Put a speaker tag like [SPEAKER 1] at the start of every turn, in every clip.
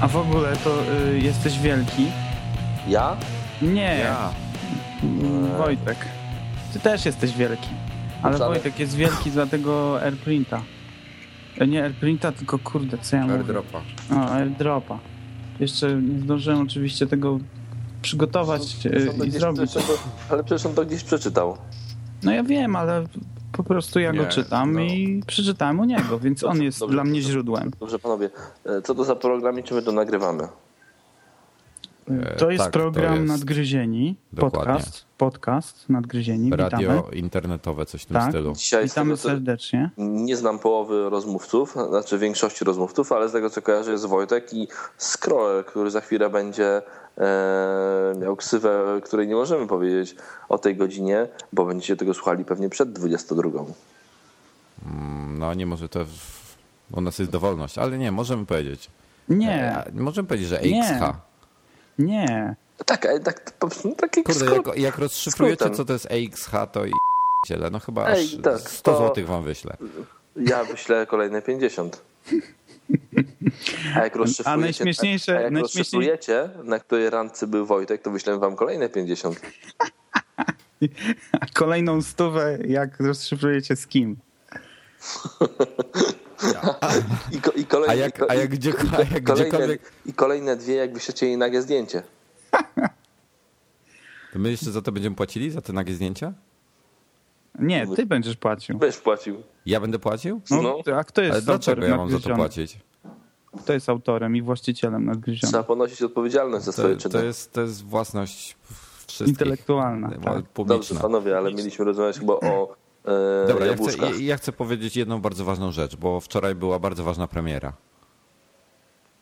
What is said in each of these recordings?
[SPEAKER 1] A w ogóle to y, jesteś wielki?
[SPEAKER 2] Ja?
[SPEAKER 1] Nie,
[SPEAKER 2] Ja.
[SPEAKER 1] mm, Wojtek.
[SPEAKER 3] tak.
[SPEAKER 1] Ty też jesteś wielki. Ale
[SPEAKER 2] Żadek.
[SPEAKER 1] Wojtek jest wielki za tego airprinta. E, Nie airprinta, tylko kurde, co ja mówię?
[SPEAKER 3] Airdropa.
[SPEAKER 1] O, airdropa. Jeszcze nie zdążyłem oczywiście tego przygotować
[SPEAKER 2] Przecież on
[SPEAKER 1] y,
[SPEAKER 2] to
[SPEAKER 1] i
[SPEAKER 2] gdzieś-
[SPEAKER 1] zrobić.
[SPEAKER 2] przecież on to- Ale przecież on to gdzieś przeczytał.
[SPEAKER 1] No ja wiem, ale po prostu ja go
[SPEAKER 3] Nie,
[SPEAKER 1] czytam
[SPEAKER 3] no.
[SPEAKER 1] i przeczytałem u niego, więc on jest
[SPEAKER 2] dobrze,
[SPEAKER 1] dla mnie
[SPEAKER 2] dobrze.
[SPEAKER 1] źródłem.
[SPEAKER 2] Dobrze panowie, e, co to za program i czy my to nagrywamy?
[SPEAKER 3] E,
[SPEAKER 1] To jest
[SPEAKER 3] tak, to
[SPEAKER 1] program
[SPEAKER 3] jest-
[SPEAKER 1] Nadgryzieni,
[SPEAKER 3] Dokładnie.
[SPEAKER 1] podcast, podcast Nadgryzieni, witamy.
[SPEAKER 3] Radio internetowe, coś w tym
[SPEAKER 1] Tak.
[SPEAKER 3] stylu.
[SPEAKER 2] Dzisiaj z
[SPEAKER 1] Witamy
[SPEAKER 2] tego, co,
[SPEAKER 1] serdecznie.
[SPEAKER 2] nie znam połowy rozmówców, znaczy większości rozmówców, ale z tego co kojarzę jest Wojtek i Skroll, który za chwilę będzie e, miał ksywę, której nie możemy powiedzieć o tej godzinie, bo będziecie tego słuchali pewnie przed 22.
[SPEAKER 3] No nie może to. w- U nas jest dowolność, ale nie, możemy powiedzieć.
[SPEAKER 1] Nie,
[SPEAKER 3] E, Możemy powiedzieć, że
[SPEAKER 1] Nie.
[SPEAKER 3] XH.
[SPEAKER 1] nie.
[SPEAKER 2] Tak, ale tak, po prostu taki
[SPEAKER 3] Kurde,
[SPEAKER 2] skrót.
[SPEAKER 3] jak, jak rozszyfrujecie,
[SPEAKER 2] skrótem.
[SPEAKER 3] co to jest AXH, to i ciele. No chyba
[SPEAKER 2] Ej,
[SPEAKER 3] aż
[SPEAKER 2] tak,
[SPEAKER 3] 100
[SPEAKER 2] to-
[SPEAKER 3] złotych wam wyślę.
[SPEAKER 2] Ja wyślę kolejne 50. A jak rozszyfrujecie,
[SPEAKER 1] najśmieszniejsze-
[SPEAKER 2] a jak
[SPEAKER 1] najśmieszniej-
[SPEAKER 2] rozszyfrujecie, na której randce był Wojtek, to wyślę wam kolejne 50.
[SPEAKER 1] A Kolejną stówę, jak rozszyfrujecie z kim.
[SPEAKER 2] I, ko, i kolejne,
[SPEAKER 3] A jak, a jak, gdzie, a jak
[SPEAKER 2] kolejne,
[SPEAKER 3] gdziekolwiek.
[SPEAKER 2] I kolejne dwie, jak wyślecie jej nagie zdjęcie.
[SPEAKER 3] To my jeszcze za to będziemy płacili? Za te nagie zdjęcia?
[SPEAKER 1] Nie, ty będziesz płacił.
[SPEAKER 2] Będziesz płacił.
[SPEAKER 3] Ja będę płacił?
[SPEAKER 1] No,
[SPEAKER 2] No.
[SPEAKER 1] a kto jest
[SPEAKER 3] Ale dlaczego
[SPEAKER 1] autorem
[SPEAKER 3] ja mam za to
[SPEAKER 1] nadgryzionych?
[SPEAKER 3] płacić?
[SPEAKER 1] Kto jest autorem i właścicielem
[SPEAKER 2] Trzeba
[SPEAKER 1] nadgryzionych?
[SPEAKER 2] ponosić odpowiedzialność za swoje
[SPEAKER 3] To, to,
[SPEAKER 2] czyny.
[SPEAKER 3] jest, to jest własność wszystkich.
[SPEAKER 1] Intelektualna. Tak.
[SPEAKER 2] Dobrze,
[SPEAKER 3] Publiczna.
[SPEAKER 2] panowie, ale mieliśmy rozmawiać chyba o e,
[SPEAKER 3] Dobra, ja chcę,
[SPEAKER 2] jabłuszkach.
[SPEAKER 3] ja- ja chcę powiedzieć jedną bardzo ważną rzecz, bo wczoraj była bardzo ważna premiera.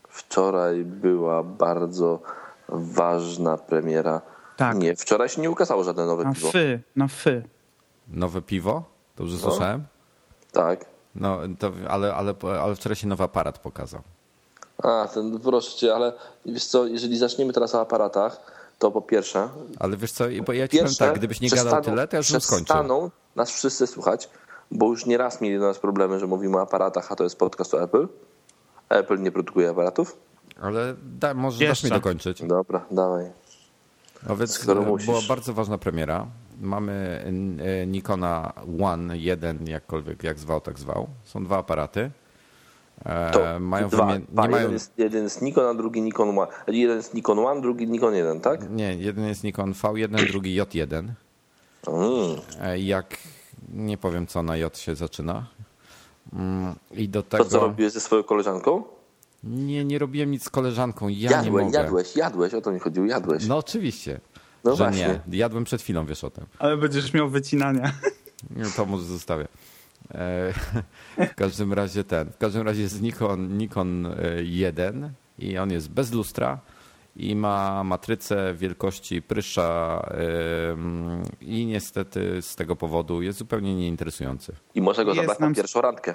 [SPEAKER 2] Wczoraj była bardzo ważna premiera.
[SPEAKER 1] Tak.
[SPEAKER 2] Nie, wczoraj się nie ukazało żadne nowe
[SPEAKER 1] Na
[SPEAKER 2] piwo.
[SPEAKER 1] fy, na fy.
[SPEAKER 3] Nowe piwo?
[SPEAKER 2] No.
[SPEAKER 3] Dobrze słyszałem?
[SPEAKER 2] Tak.
[SPEAKER 3] No, to, ale, ale, ale wczoraj się nowy aparat pokazał.
[SPEAKER 2] A, ten, proszę cię, ale wiesz co, jeżeli zaczniemy teraz o aparatach, to po pierwsze,
[SPEAKER 3] Ale wiesz co, bo ja ci powiem
[SPEAKER 2] pierwsze
[SPEAKER 3] tak, gdybyś nie gadał
[SPEAKER 2] przestaną-
[SPEAKER 3] tyle, to ja już bym skończył.
[SPEAKER 2] przestaną nas wszyscy słuchać, bo już nieraz mieli do nas problemy, że mówimy o aparatach, a to jest podcast o Apple. Apple nie produkuje aparatów.
[SPEAKER 3] Ale da, może
[SPEAKER 1] Jeszcze.
[SPEAKER 3] dasz mi dokończyć.
[SPEAKER 2] Dobra, dawaj.
[SPEAKER 3] No więc
[SPEAKER 2] Skoro
[SPEAKER 3] e,
[SPEAKER 2] musisz.
[SPEAKER 3] była bardzo ważna premiera. Mamy e, Nikona One, jeden, jakkolwiek, jak zwał, tak zwał. Są dwa aparaty. E,
[SPEAKER 2] To
[SPEAKER 3] mają
[SPEAKER 2] dwa.
[SPEAKER 3] wymien-
[SPEAKER 2] dwa.
[SPEAKER 3] nie mają
[SPEAKER 2] jeden, jest, jeden jest Nikon, a drugi Nikon One. Jeden jest Nikon One, drugi Nikon 1, tak?
[SPEAKER 3] Nie, jeden jest Nikon V1, drugi J1.
[SPEAKER 2] Mm.
[SPEAKER 3] E, Jak nie powiem co na J się zaczyna. Mm, I do
[SPEAKER 2] To
[SPEAKER 3] tego.
[SPEAKER 2] co robiłeś ze swoją koleżanką?
[SPEAKER 3] Nie, nie robiłem nic z koleżanką. Ja nie
[SPEAKER 2] Jadłeś,
[SPEAKER 3] mogę.
[SPEAKER 2] jadłeś, jadłeś, o to mi chodziło, jadłeś.
[SPEAKER 3] No oczywiście.
[SPEAKER 2] No
[SPEAKER 3] że
[SPEAKER 2] właśnie.
[SPEAKER 3] nie. Jadłem przed chwilą, wiesz o tym.
[SPEAKER 1] Ale będziesz miał wycinania.
[SPEAKER 3] No To może zostawię. E, W każdym razie ten. W każdym razie jest Nikon, Nikon e, 1 i on jest bez lustra i ma matrycę wielkości prysza e, mm, i niestety z tego powodu jest zupełnie nieinteresujący.
[SPEAKER 2] I może go
[SPEAKER 1] Jest
[SPEAKER 2] zabrać
[SPEAKER 1] nam-
[SPEAKER 2] na pierwszą randkę.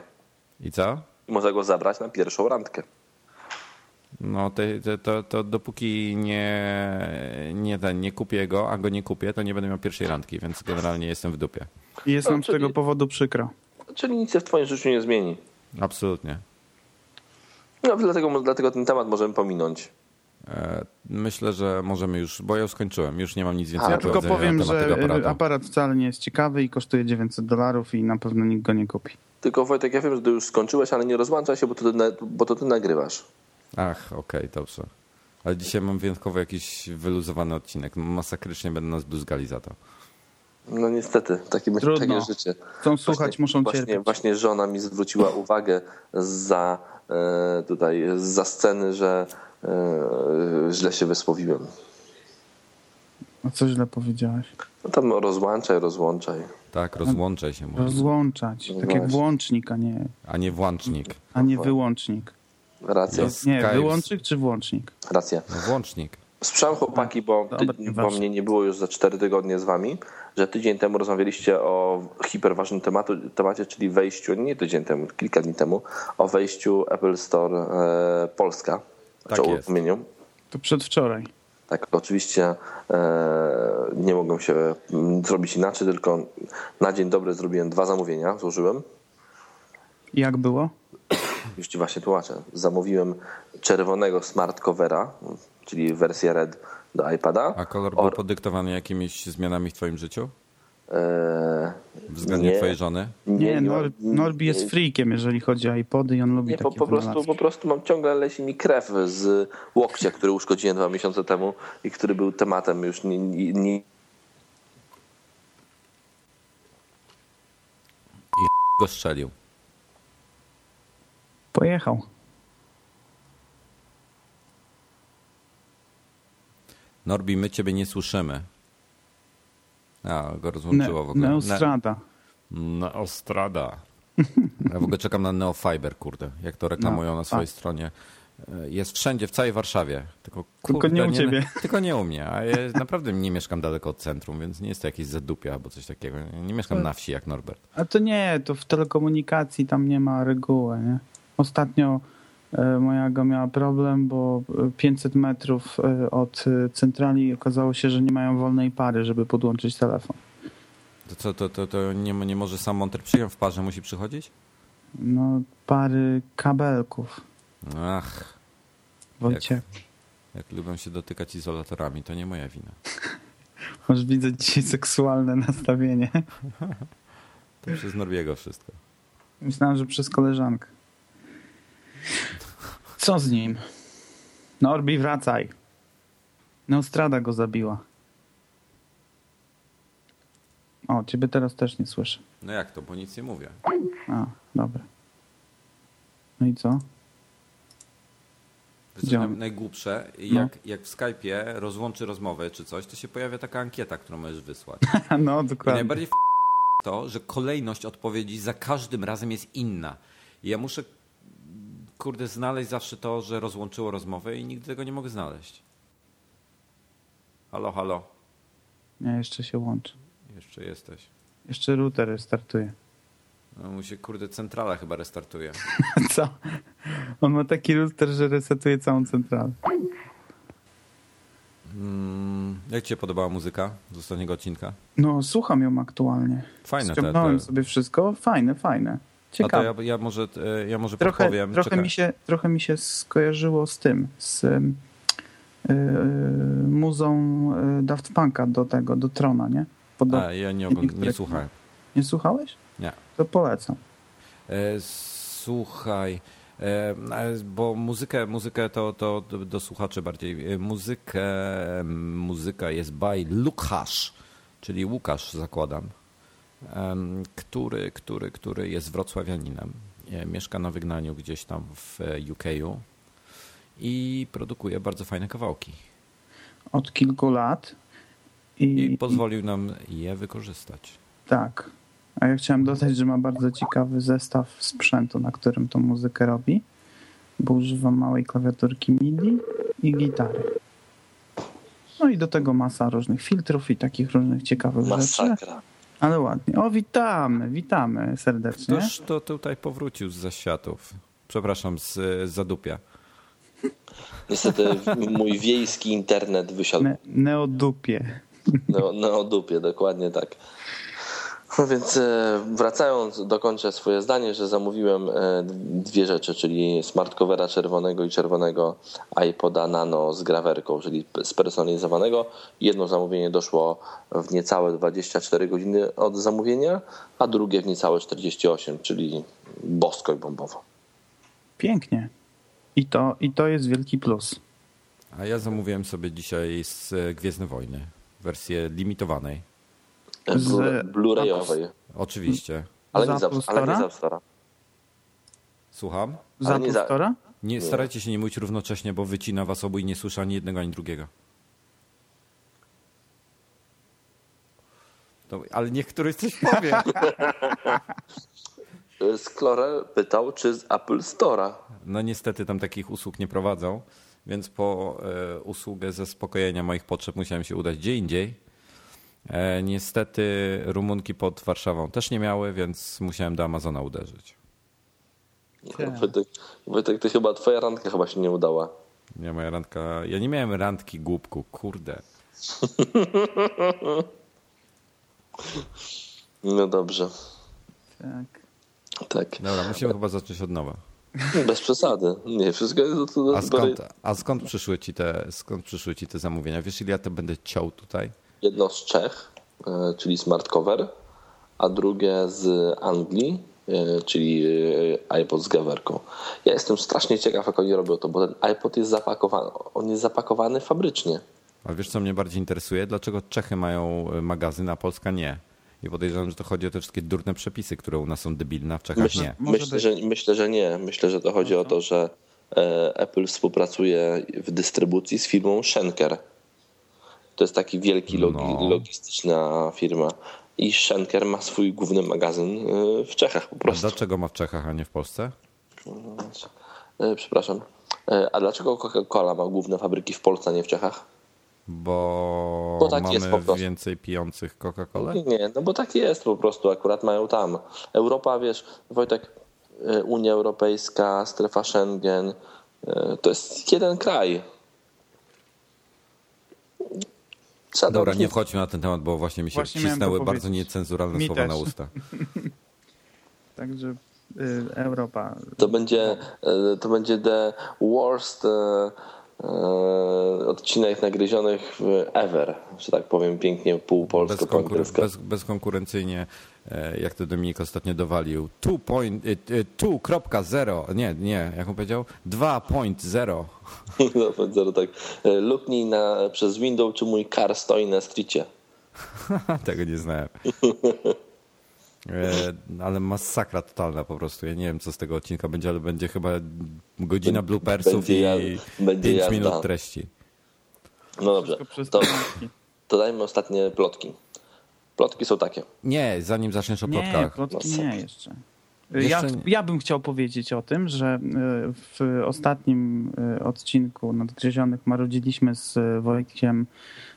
[SPEAKER 3] I co?
[SPEAKER 2] I może go zabrać na pierwszą randkę.
[SPEAKER 3] No te, te, to, to dopóki nie, nie, ten, nie kupię go, a go nie kupię, to nie będę miał pierwszej randki, więc generalnie jestem w dupie.
[SPEAKER 1] I jest
[SPEAKER 2] No,
[SPEAKER 1] nam z
[SPEAKER 2] czyli-
[SPEAKER 1] tego powodu przykro.
[SPEAKER 2] Czyli nic się w twoim życiu nie zmieni.
[SPEAKER 3] Absolutnie.
[SPEAKER 2] No dlatego, dlatego ten temat możemy pominąć.
[SPEAKER 3] E, Myślę, że możemy już, bo ja już skończyłem, już nie mam nic więcej
[SPEAKER 2] A,
[SPEAKER 3] do
[SPEAKER 1] Ja tylko
[SPEAKER 3] powiedzenia
[SPEAKER 1] powiem,
[SPEAKER 3] na temat
[SPEAKER 1] że
[SPEAKER 3] tego aparatu.
[SPEAKER 1] y, aparat wcale nie jest ciekawy i kosztuje 900 dolarów i na pewno nikt go nie kupi.
[SPEAKER 2] Tylko Wojtek, ja wiem, że ty już skończyłeś, ale nie rozłączaj się, bo to ty, na, bo to ty nagrywasz.
[SPEAKER 3] Ach, okej, dobrze. Ale dzisiaj mam wyjątkowo jakiś wyluzowany odcinek. Masakrycznie będą nas bluzgali za to.
[SPEAKER 2] No niestety, takie,
[SPEAKER 1] Trudno.
[SPEAKER 2] takie życie.
[SPEAKER 1] Chcą słuchać, muszą
[SPEAKER 2] właśnie,
[SPEAKER 1] cierpieć.
[SPEAKER 2] właśnie żona mi zwróciła uwagę za e, tutaj, za sceny, że e, źle się wysłowiłem.
[SPEAKER 1] A No, co źle powiedziałeś?
[SPEAKER 2] No tam rozłączaj, rozłączaj.
[SPEAKER 3] Tak, rozłączaj się mówi,
[SPEAKER 1] Rozłączać. Tak jak
[SPEAKER 2] Właśnie.
[SPEAKER 1] włącznik, a nie,
[SPEAKER 3] a nie włącznik.
[SPEAKER 1] a nie wyłącznik.
[SPEAKER 2] Racja,
[SPEAKER 3] Jest.
[SPEAKER 1] Nie,
[SPEAKER 3] Skype.
[SPEAKER 1] wyłącznik czy włącznik?
[SPEAKER 2] racja.
[SPEAKER 3] No, włącznik.
[SPEAKER 2] Sprzęt chłopaki, bo,
[SPEAKER 1] Dobra,
[SPEAKER 3] No,
[SPEAKER 2] ty, bo
[SPEAKER 1] nieważne.
[SPEAKER 2] mnie nie było już za cztery tygodnie z wami, że tydzień temu rozmawialiście o hiperważnym tematu, temacie, czyli wejściu, nie tydzień temu, kilka dni temu, o wejściu Apple Store e, Polska.
[SPEAKER 3] Tak
[SPEAKER 2] Znaczy o
[SPEAKER 3] jest.
[SPEAKER 2] uruchomieniu.
[SPEAKER 1] To przedwczoraj.
[SPEAKER 2] Tak, oczywiście e, nie mogłem się mm, zrobić inaczej, tylko na dzień dobry zrobiłem dwa zamówienia, złożyłem.
[SPEAKER 1] Jak było?
[SPEAKER 2] Już ci właśnie tłumaczę. Zamówiłem czerwonego smart covera, czyli wersję red do iPada.
[SPEAKER 3] A kolor był
[SPEAKER 2] Or-
[SPEAKER 3] podyktowany jakimiś zmianami w twoim życiu?
[SPEAKER 2] Eee,
[SPEAKER 3] Względem
[SPEAKER 2] nie,
[SPEAKER 3] twojej żony?
[SPEAKER 1] Nie,
[SPEAKER 2] nie,
[SPEAKER 1] Nor-
[SPEAKER 2] nie,
[SPEAKER 1] Norbi
[SPEAKER 2] nie,
[SPEAKER 1] jest freakiem, jeżeli chodzi o iPody i on lubi
[SPEAKER 2] Nie, po,
[SPEAKER 1] takie
[SPEAKER 2] po, prostu,
[SPEAKER 1] wynalazki.
[SPEAKER 2] po prostu mam ciągle leci mi krew z łokcia, który uszkodziłem dwa miesiące temu i który był tematem już nie, nie, nie
[SPEAKER 3] Go strzelił.
[SPEAKER 1] Pojechał.
[SPEAKER 3] Norbi, my ciebie nie słyszymy. A, go
[SPEAKER 1] Ne-
[SPEAKER 3] rozłączyło w ogóle.
[SPEAKER 1] Neostrada.
[SPEAKER 3] Neostrada. Ja w ogóle czekam na Neofiber, kurde, jak to reklamują
[SPEAKER 1] No,
[SPEAKER 3] na swojej
[SPEAKER 1] tak.
[SPEAKER 3] stronie. E, Jest wszędzie, w całej Warszawie. Tylko,
[SPEAKER 1] Tylko
[SPEAKER 3] kurde,
[SPEAKER 1] nie u ciebie.
[SPEAKER 3] Tylko nie u mnie, a ja naprawdę nie mieszkam daleko od centrum, więc nie jest to jakieś zadupia albo coś takiego. Ja Nie mieszkam na wsi jak Norbert.
[SPEAKER 1] A to nie, to w telekomunikacji tam nie ma reguły. Nie? Ostatnio e, moja go miała problem, bo e, 500 metrów e, od e, centrali okazało się, że nie mają wolnej pary, żeby podłączyć telefon.
[SPEAKER 3] To co, to, to, to nie, nie może sam monter przyjąć w parze, musi przychodzić?
[SPEAKER 1] No, pary kabelków.
[SPEAKER 3] Ach,
[SPEAKER 1] Wojciech,
[SPEAKER 3] jak lubią się dotykać izolatorami, to nie moja wina.
[SPEAKER 1] masz widzę dzisiaj seksualne nastawienie.
[SPEAKER 3] To przez Norbiego wszystko.
[SPEAKER 1] Myślałem, że przez koleżankę. Co z nim? Norbi, wracaj. Neostrada go zabiła. O, ciebie teraz też nie słyszę.
[SPEAKER 3] No jak to, bo nic nie mówię.
[SPEAKER 1] A, dobra. No i co?
[SPEAKER 3] Wiesz, co
[SPEAKER 1] Działam.
[SPEAKER 3] naj- najgłupsze,
[SPEAKER 1] No.
[SPEAKER 3] jak, jak w Skype'ie rozłączy rozmowę czy coś, to się pojawia taka ankieta, którą możesz wysłać.
[SPEAKER 1] No,
[SPEAKER 3] I
[SPEAKER 1] dokładnie.
[SPEAKER 3] najbardziej f- to, że kolejność odpowiedzi za każdym razem jest inna. I ja muszę, kurde, znaleźć zawsze to, że rozłączyło rozmowę i nigdy tego nie mogę znaleźć. Halo, halo,
[SPEAKER 1] Nie, jeszcze się łączy.
[SPEAKER 3] jeszcze jesteś.
[SPEAKER 1] Jeszcze router restartuje.
[SPEAKER 3] No mu się, kurde, centrala chyba restartuje.
[SPEAKER 1] Co? On ma taki router, że resetuje całą centralę.
[SPEAKER 3] Mm, jak ci się podobała muzyka z ostatniego odcinka?
[SPEAKER 1] No, słucham ją aktualnie.
[SPEAKER 3] Fajne te,
[SPEAKER 1] Ściągnąłem
[SPEAKER 3] te...
[SPEAKER 1] sobie wszystko. Fajne, fajne.
[SPEAKER 3] A to
[SPEAKER 1] Ciekawe.
[SPEAKER 3] ja, ja może, e, ja może
[SPEAKER 1] Trochę,
[SPEAKER 3] podpowiem.
[SPEAKER 1] trochę,
[SPEAKER 3] Czekaj.
[SPEAKER 1] mi się, trochę mi się skojarzyło z tym, z em, yy, muzą yy, Daft Punk'a do tego, do Trona, nie? Podob-
[SPEAKER 3] A, ja nie, ogląd-
[SPEAKER 1] niektóre-
[SPEAKER 3] nie słuchałem.
[SPEAKER 1] Nie słuchałeś?
[SPEAKER 3] Nie.
[SPEAKER 1] To polecam.
[SPEAKER 3] E, słuchaj, e, e, bo muzykę, muzykę to, to do, do słuchaczy bardziej. E, Muzykę, muzyka jest by Lukasz, czyli Łukasz zakładam, em, który, który, który jest wrocławianinem. E, Mieszka na wygnaniu gdzieś tam w UK-u i produkuje bardzo fajne kawałki.
[SPEAKER 1] Od kilku lat. I,
[SPEAKER 3] I pozwolił nam je wykorzystać.
[SPEAKER 1] Tak. A ja chciałem dodać, że ma bardzo ciekawy zestaw sprzętu, na którym tą muzykę robi, bo używa małej klawiaturki MIDI i gitary. No i do tego masa różnych filtrów i takich różnych ciekawych rzeczy.
[SPEAKER 2] masakra.
[SPEAKER 1] Ale ładnie. O, witamy, witamy serdecznie.
[SPEAKER 3] Ktoś to tutaj powrócił z zaświatów. Przepraszam, z, z zadupia.
[SPEAKER 2] Niestety mój wiejski internet wysiadł
[SPEAKER 1] Ne- neodupie.
[SPEAKER 2] No, no o dupie, dokładnie tak. No więc e, wracając, dokończę swoje zdanie, że zamówiłem e, dwie rzeczy, czyli smart covera czerwonego i czerwonego iPoda Nano z grawerką, czyli spersonalizowanego. Jedno zamówienie doszło w niecałe 24 godziny od zamówienia, a drugie w niecałe 48, czyli bosko i bombowo.
[SPEAKER 1] Pięknie. I to, I to jest wielki plus.
[SPEAKER 3] A ja zamówiłem sobie dzisiaj z e, Gwiezdne Wojny, wersję limitowanej.
[SPEAKER 2] E,
[SPEAKER 1] Z-
[SPEAKER 2] Blu- Blu-rayowej,
[SPEAKER 3] Oczywiście.
[SPEAKER 2] ale nie
[SPEAKER 1] Za
[SPEAKER 2] za, ale nie
[SPEAKER 1] Apple
[SPEAKER 2] za Store.
[SPEAKER 3] Słucham?
[SPEAKER 1] Za
[SPEAKER 2] Ale nie za-
[SPEAKER 1] półtora?
[SPEAKER 3] Nie, starajcie się nie mówić równocześnie, bo wycina was obu i nie słyszę ani jednego, ani drugiego. To, ale niech któryś coś powie.
[SPEAKER 2] E, Sklorel pytał, czy z Apple Store'a.
[SPEAKER 3] No niestety tam takich usług nie prowadzą, więc po e, usługę zaspokojenia moich potrzeb musiałem się udać gdzie indziej. E, niestety Rumunki pod Warszawą też nie miały, więc musiałem do Amazona uderzyć.
[SPEAKER 1] Tak.
[SPEAKER 2] Wojtek, Wojtek, ty chyba twoja randka chyba się nie udała.
[SPEAKER 3] Nie, moja randka. Ja nie miałem randki głupku, kurde.
[SPEAKER 2] No dobrze,
[SPEAKER 1] Tak.
[SPEAKER 2] tak. No
[SPEAKER 1] Tak.
[SPEAKER 3] No. Dobra, musimy chyba zacząć od nowa.
[SPEAKER 2] Tak. Bez przesady. Nie, wszystko jest do, do,
[SPEAKER 3] A
[SPEAKER 2] do
[SPEAKER 3] skąd, a skąd, przyszły, ci te, skąd przyszły ci te zamówienia? Wiesz, ile ja to będę ciął tutaj?
[SPEAKER 2] Jedno z Czech, e, czyli Smart Cover, a drugie z Anglii, e, czyli e, iPod z gawerką. Ja jestem strasznie ciekaw, jak oni robią to, bo ten iPod jest zapakowany, on jest zapakowany fabrycznie.
[SPEAKER 3] A wiesz, co mnie bardziej interesuje? Dlaczego Czechy mają magazyn, a Polska nie? I podejrzewam, że to chodzi o te wszystkie durne przepisy, które u nas są debilne, a w Czechach
[SPEAKER 2] Myśl,
[SPEAKER 3] nie.
[SPEAKER 1] Może
[SPEAKER 2] myślę,
[SPEAKER 1] być.
[SPEAKER 2] że, myślę, że nie. Myślę, że to chodzi o to, że e, Apple współpracuje w dystrybucji z firmą Schenker. To jest taki wielki logi,
[SPEAKER 3] No.
[SPEAKER 2] logistyczna firma. I Schenker ma swój główny magazyn e, w Czechach po
[SPEAKER 3] A
[SPEAKER 2] prostu.
[SPEAKER 3] dlaczego ma w Czechach, a nie w Polsce?
[SPEAKER 2] E, Przepraszam. E, A dlaczego Coca-Cola ma główne fabryki w Polsce, a nie w Czechach?
[SPEAKER 3] Bo,
[SPEAKER 2] Bo tak
[SPEAKER 3] mamy
[SPEAKER 2] jest po prostu.
[SPEAKER 3] więcej pijących Coca-Colę?
[SPEAKER 2] Nie, no bo tak jest po prostu, akurat mają tam. Europa, wiesz, Wojtek, y, Unia Europejska, strefa Schengen, y, to jest jeden kraj. Trzeba
[SPEAKER 3] Dobra,
[SPEAKER 2] dobrze-
[SPEAKER 3] nie wchodźmy na ten temat, bo właśnie mi się
[SPEAKER 1] Właśnie miałem
[SPEAKER 3] wcisnęły
[SPEAKER 1] to
[SPEAKER 3] bardzo
[SPEAKER 1] powiedzieć.
[SPEAKER 3] niecenzuralne
[SPEAKER 1] Mi
[SPEAKER 3] słowa
[SPEAKER 1] też.
[SPEAKER 3] na usta.
[SPEAKER 1] Także y, Europa.
[SPEAKER 2] To będzie, y, to będzie the worst y, y, odcinek nagryzionych y, ever, że tak powiem pięknie półpolsko
[SPEAKER 3] Bezkonkurencyjnie,
[SPEAKER 2] polsko
[SPEAKER 3] bez, bezkonkurencyjnie, e, jak to Dominik ostatnio dowalił, 2 point- y, y, 2.0, nie, nie, jak on powiedział? 2.0.
[SPEAKER 2] No, zero tak. Y, Luknij na, przez window, czy mój kar stoi na stricie.
[SPEAKER 3] Tego nie znałem. E, Ale masakra totalna po prostu. Ja nie wiem, co z tego odcinka będzie, ale będzie chyba godzina bloopersów
[SPEAKER 2] Będzie
[SPEAKER 3] i
[SPEAKER 2] jazda. Będzie
[SPEAKER 3] 5
[SPEAKER 2] jazda.
[SPEAKER 3] minut treści.
[SPEAKER 2] No dobrze,
[SPEAKER 1] Wszystko przez
[SPEAKER 2] to,
[SPEAKER 1] pionki.
[SPEAKER 2] to dajmy ostatnie plotki. Plotki są takie.
[SPEAKER 3] Nie, zanim zaczniesz o
[SPEAKER 1] Nie,
[SPEAKER 3] plotkach.
[SPEAKER 2] No,
[SPEAKER 1] plotki nie jeszcze. Ja,
[SPEAKER 3] Jeszcze nie.
[SPEAKER 1] ja bym chciał powiedzieć o tym, że y, w ostatnim y, odcinku nadgryzionych marudziliśmy z y, Wojtkiem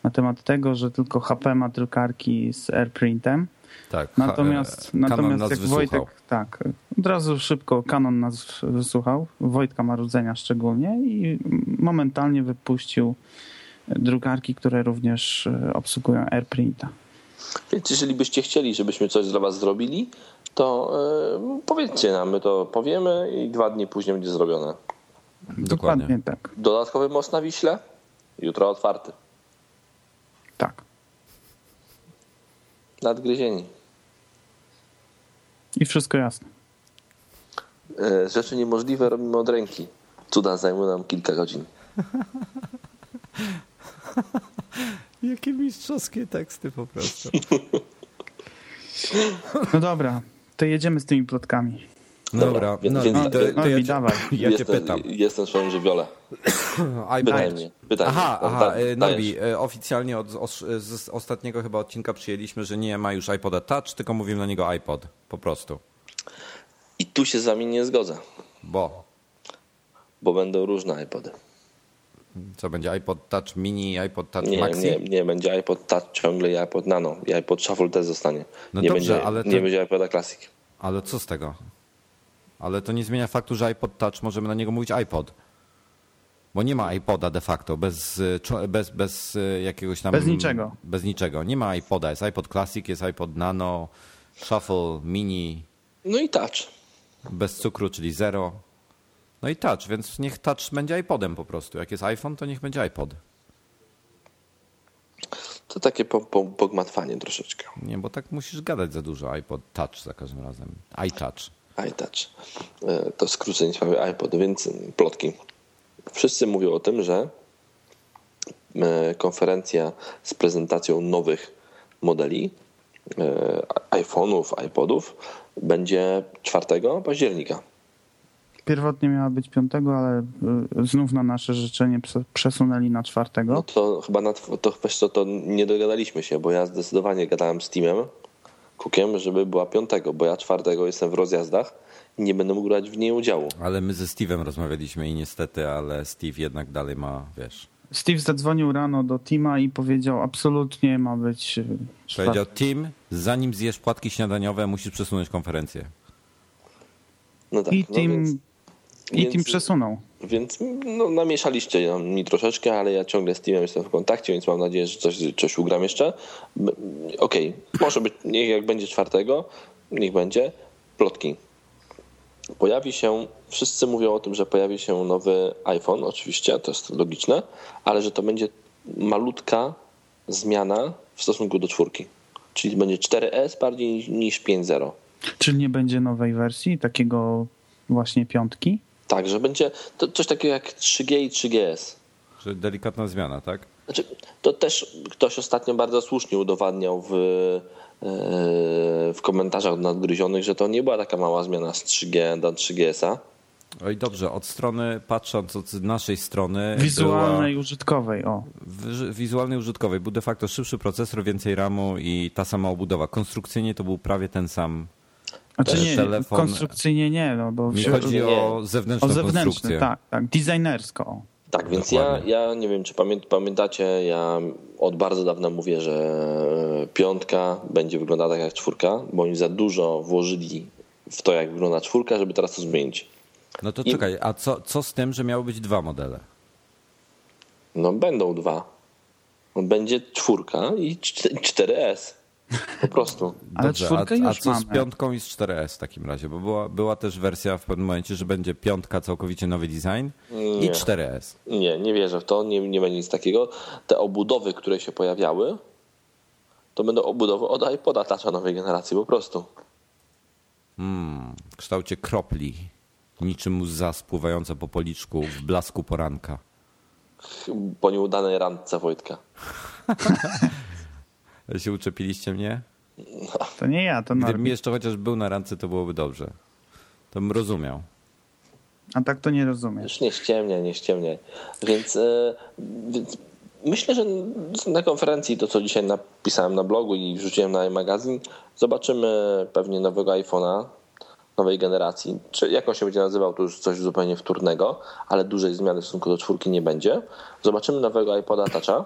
[SPEAKER 1] na temat tego, że tylko HP ma drukarki z airprintem.
[SPEAKER 3] Tak, ha-
[SPEAKER 1] Natomiast,
[SPEAKER 3] e, Kanon
[SPEAKER 1] natomiast
[SPEAKER 3] nas
[SPEAKER 1] jak
[SPEAKER 3] wysłuchał.
[SPEAKER 1] Wojtek, tak, od razu szybko Kanon nas wysłuchał, Wojtka Marudzenia szczególnie i momentalnie wypuścił drukarki, które również e, obsługują AirPrinta.
[SPEAKER 2] Więc jeżeli byście chcieli, żebyśmy coś dla was zrobili, to e, powiedzcie nam, my to powiemy i dwa dni później będzie zrobione.
[SPEAKER 3] Dokładnie.
[SPEAKER 1] tak,
[SPEAKER 2] Dodatkowy most na Wiśle? Jutro otwarty.
[SPEAKER 1] tak.
[SPEAKER 2] Nadgryzieni.
[SPEAKER 1] I wszystko jasne.
[SPEAKER 2] E, rzeczy niemożliwe robimy od ręki. Cuda zajmą nam kilka godzin.
[SPEAKER 3] Jakie mistrzowskie teksty po prostu.
[SPEAKER 1] No dobra, to jedziemy z tymi plotkami.
[SPEAKER 3] Dobra,
[SPEAKER 2] Dobra,
[SPEAKER 3] no,
[SPEAKER 2] więc-
[SPEAKER 3] no, to, to
[SPEAKER 1] Norbi,
[SPEAKER 3] ja, cię,
[SPEAKER 1] dawaj.
[SPEAKER 3] ja cię
[SPEAKER 2] jestem,
[SPEAKER 3] pytam.
[SPEAKER 2] Jestem w swoim żywiole. Pytaj
[SPEAKER 3] iPad.
[SPEAKER 2] mnie. Pytaj
[SPEAKER 3] Aha,
[SPEAKER 2] mnie. No,
[SPEAKER 3] aha,
[SPEAKER 2] tak, dajesz.
[SPEAKER 3] e, Norbi, e, oficjalnie od, os- z z ostatniego chyba odcinka przyjęliśmy, że nie ma już iPoda Touch, tylko mówimy na niego iPod, po prostu.
[SPEAKER 2] I tu się z wami nie zgodzę,
[SPEAKER 3] Bo
[SPEAKER 2] bo będą różne iPody.
[SPEAKER 3] co będzie, iPod Touch Mini, iPod Touch
[SPEAKER 2] Nie,
[SPEAKER 3] Maxi?
[SPEAKER 2] nie, nie będzie iPod Touch ciągle i iPod Nano. I iPod Shuffle też zostanie.
[SPEAKER 3] No
[SPEAKER 2] nie
[SPEAKER 3] dobrze,
[SPEAKER 2] będzie,
[SPEAKER 3] ale to-
[SPEAKER 2] nie będzie iPoda Classic.
[SPEAKER 3] Ale co z tego? Ale to nie zmienia faktu, że iPod Touch, możemy na niego mówić iPod. Bo nie ma iPoda de facto, bez, y, czo- bez, bez y, jakiegoś tam...
[SPEAKER 1] Bez niczego.
[SPEAKER 3] Bez niczego. Nie ma iPoda, jest iPod Classic, jest iPod Nano, Shuffle, Mini,
[SPEAKER 2] No i Touch.
[SPEAKER 3] bez cukru, czyli zero. No i touch, więc niech touch będzie iPodem po prostu. Jak jest iPhone, to niech będzie iPod.
[SPEAKER 2] To takie po, po, pogmatwanie troszeczkę.
[SPEAKER 3] Nie, bo tak musisz gadać za dużo. iPod touch za każdym razem. iTouch.
[SPEAKER 2] iTouch. E, To skrócenie sprawy iPod, więc plotki. Wszyscy mówią o tym, że e, konferencja z prezentacją nowych modeli e, iPhone'ów, iPodów będzie 4 października.
[SPEAKER 1] Pierwotnie miała być piątego, ale y, znów na nasze życzenie prze- przesunęli na
[SPEAKER 2] No
[SPEAKER 1] czwartego.
[SPEAKER 2] to chyba na tw- to, wiesz co, to nie dogadaliśmy się, bo ja zdecydowanie gadałem z Teamem, Cookiem, żeby była 5, bo ja 4 jestem w rozjazdach i nie będę mógł brać w niej udziału.
[SPEAKER 3] Ale my ze Steve'em rozmawialiśmy i niestety, ale Steve jednak dalej ma, wiesz...
[SPEAKER 1] Steve zadzwonił rano do Tima i powiedział absolutnie ma być y, czwarty.
[SPEAKER 3] Powiedział, Tim, zanim zjesz płatki śniadaniowe, musisz przesunąć konferencję.
[SPEAKER 2] No tak,
[SPEAKER 1] I
[SPEAKER 2] no
[SPEAKER 1] Tim,
[SPEAKER 2] więc,
[SPEAKER 1] i Tim
[SPEAKER 2] więc-
[SPEAKER 1] przesunął.
[SPEAKER 2] więc no, namieszaliście mi troszeczkę, ale ja ciągle z Teamem jestem w kontakcie, więc mam nadzieję, że coś, coś ugram jeszcze. M- Okej, może być, niech jak będzie 4, niech będzie. Plotki. Pojawi się, wszyscy mówią o tym, że pojawi się nowy iPhone, oczywiście, to jest logiczne, ale że to będzie malutka zmiana w stosunku do czwórki. Czyli będzie 4S bardziej niż 5.0.
[SPEAKER 1] Czyli nie będzie nowej wersji, takiego właśnie piątki?
[SPEAKER 2] Tak, że będzie to coś takiego jak 3G i 3GS.
[SPEAKER 3] Że delikatna zmiana, tak?
[SPEAKER 2] Znaczy, to też ktoś ostatnio bardzo słusznie udowadniał w, yy, w komentarzach nadgryzionych, że to nie była taka mała zmiana z 3G do 3GS-a.
[SPEAKER 3] Oj, dobrze, od strony, patrząc od naszej strony,
[SPEAKER 1] Wizualnej, użytkowej, o.
[SPEAKER 3] była w- wizualnej użytkowej, był de facto szybszy procesor, więcej RAMu i ta sama obudowa. Konstrukcyjnie to był prawie ten sam.
[SPEAKER 1] Znaczy nie,
[SPEAKER 3] telefon-
[SPEAKER 1] konstrukcyjnie nie, no bo
[SPEAKER 3] Mi
[SPEAKER 1] wśród-
[SPEAKER 3] chodzi o
[SPEAKER 1] o
[SPEAKER 3] zewnętrzną
[SPEAKER 1] zewnętrzny,
[SPEAKER 3] konstrukcję.
[SPEAKER 1] tak, tak, designersko. o.
[SPEAKER 2] Tak, więc ja,
[SPEAKER 3] Dokładnie.
[SPEAKER 2] ja nie wiem, czy pamię, pamiętacie, ja od bardzo dawna mówię, że piątka będzie wyglądała tak jak czwórka, bo oni za dużo włożyli w to, jak wygląda czwórka, żeby teraz to zmienić.
[SPEAKER 3] No to
[SPEAKER 2] I-
[SPEAKER 3] czekaj, a co, co z tym, że miały być dwa modele?
[SPEAKER 2] No będą dwa. No, Będzie czwórka i czte- 4S. Po prostu.
[SPEAKER 1] Ale
[SPEAKER 3] Dobrze,
[SPEAKER 1] czwórkę
[SPEAKER 3] a, a
[SPEAKER 1] już
[SPEAKER 3] co z
[SPEAKER 1] mamy.
[SPEAKER 3] piątką i z 4S w takim razie? Bo była, była też wersja w pewnym momencie, że będzie piątka, całkowicie nowy design i
[SPEAKER 2] Nie.
[SPEAKER 3] 4S.
[SPEAKER 2] Nie, nie wierzę w to, nie, nie będzie nic takiego. Te obudowy, które się pojawiały, to będą obudowy od iPoda tacza nowej generacji, po prostu.
[SPEAKER 3] Mm, w kształcie kropli, niczym łza spływająca po policzku w blasku poranka.
[SPEAKER 2] Po nieudanej randce Wojtka.
[SPEAKER 3] Ale Się uczepiliście mnie?
[SPEAKER 1] To nie ja, to
[SPEAKER 3] Gdybym
[SPEAKER 1] Norbi.
[SPEAKER 3] jeszcze chociaż był na randce, to byłoby dobrze. To bym rozumiał.
[SPEAKER 1] A tak to nie rozumiesz.
[SPEAKER 2] Już nie ściemniaj, nie ściemniaj. Więc, e, więc myślę, że na konferencji to, co dzisiaj napisałem na blogu i wrzuciłem na magazyn, zobaczymy pewnie nowego iPhone'a nowej generacji. Czy jak on się będzie nazywał, to już coś zupełnie wtórnego, ale dużej zmiany w stosunku do czwórki nie będzie. Zobaczymy nowego iPoda Toucha.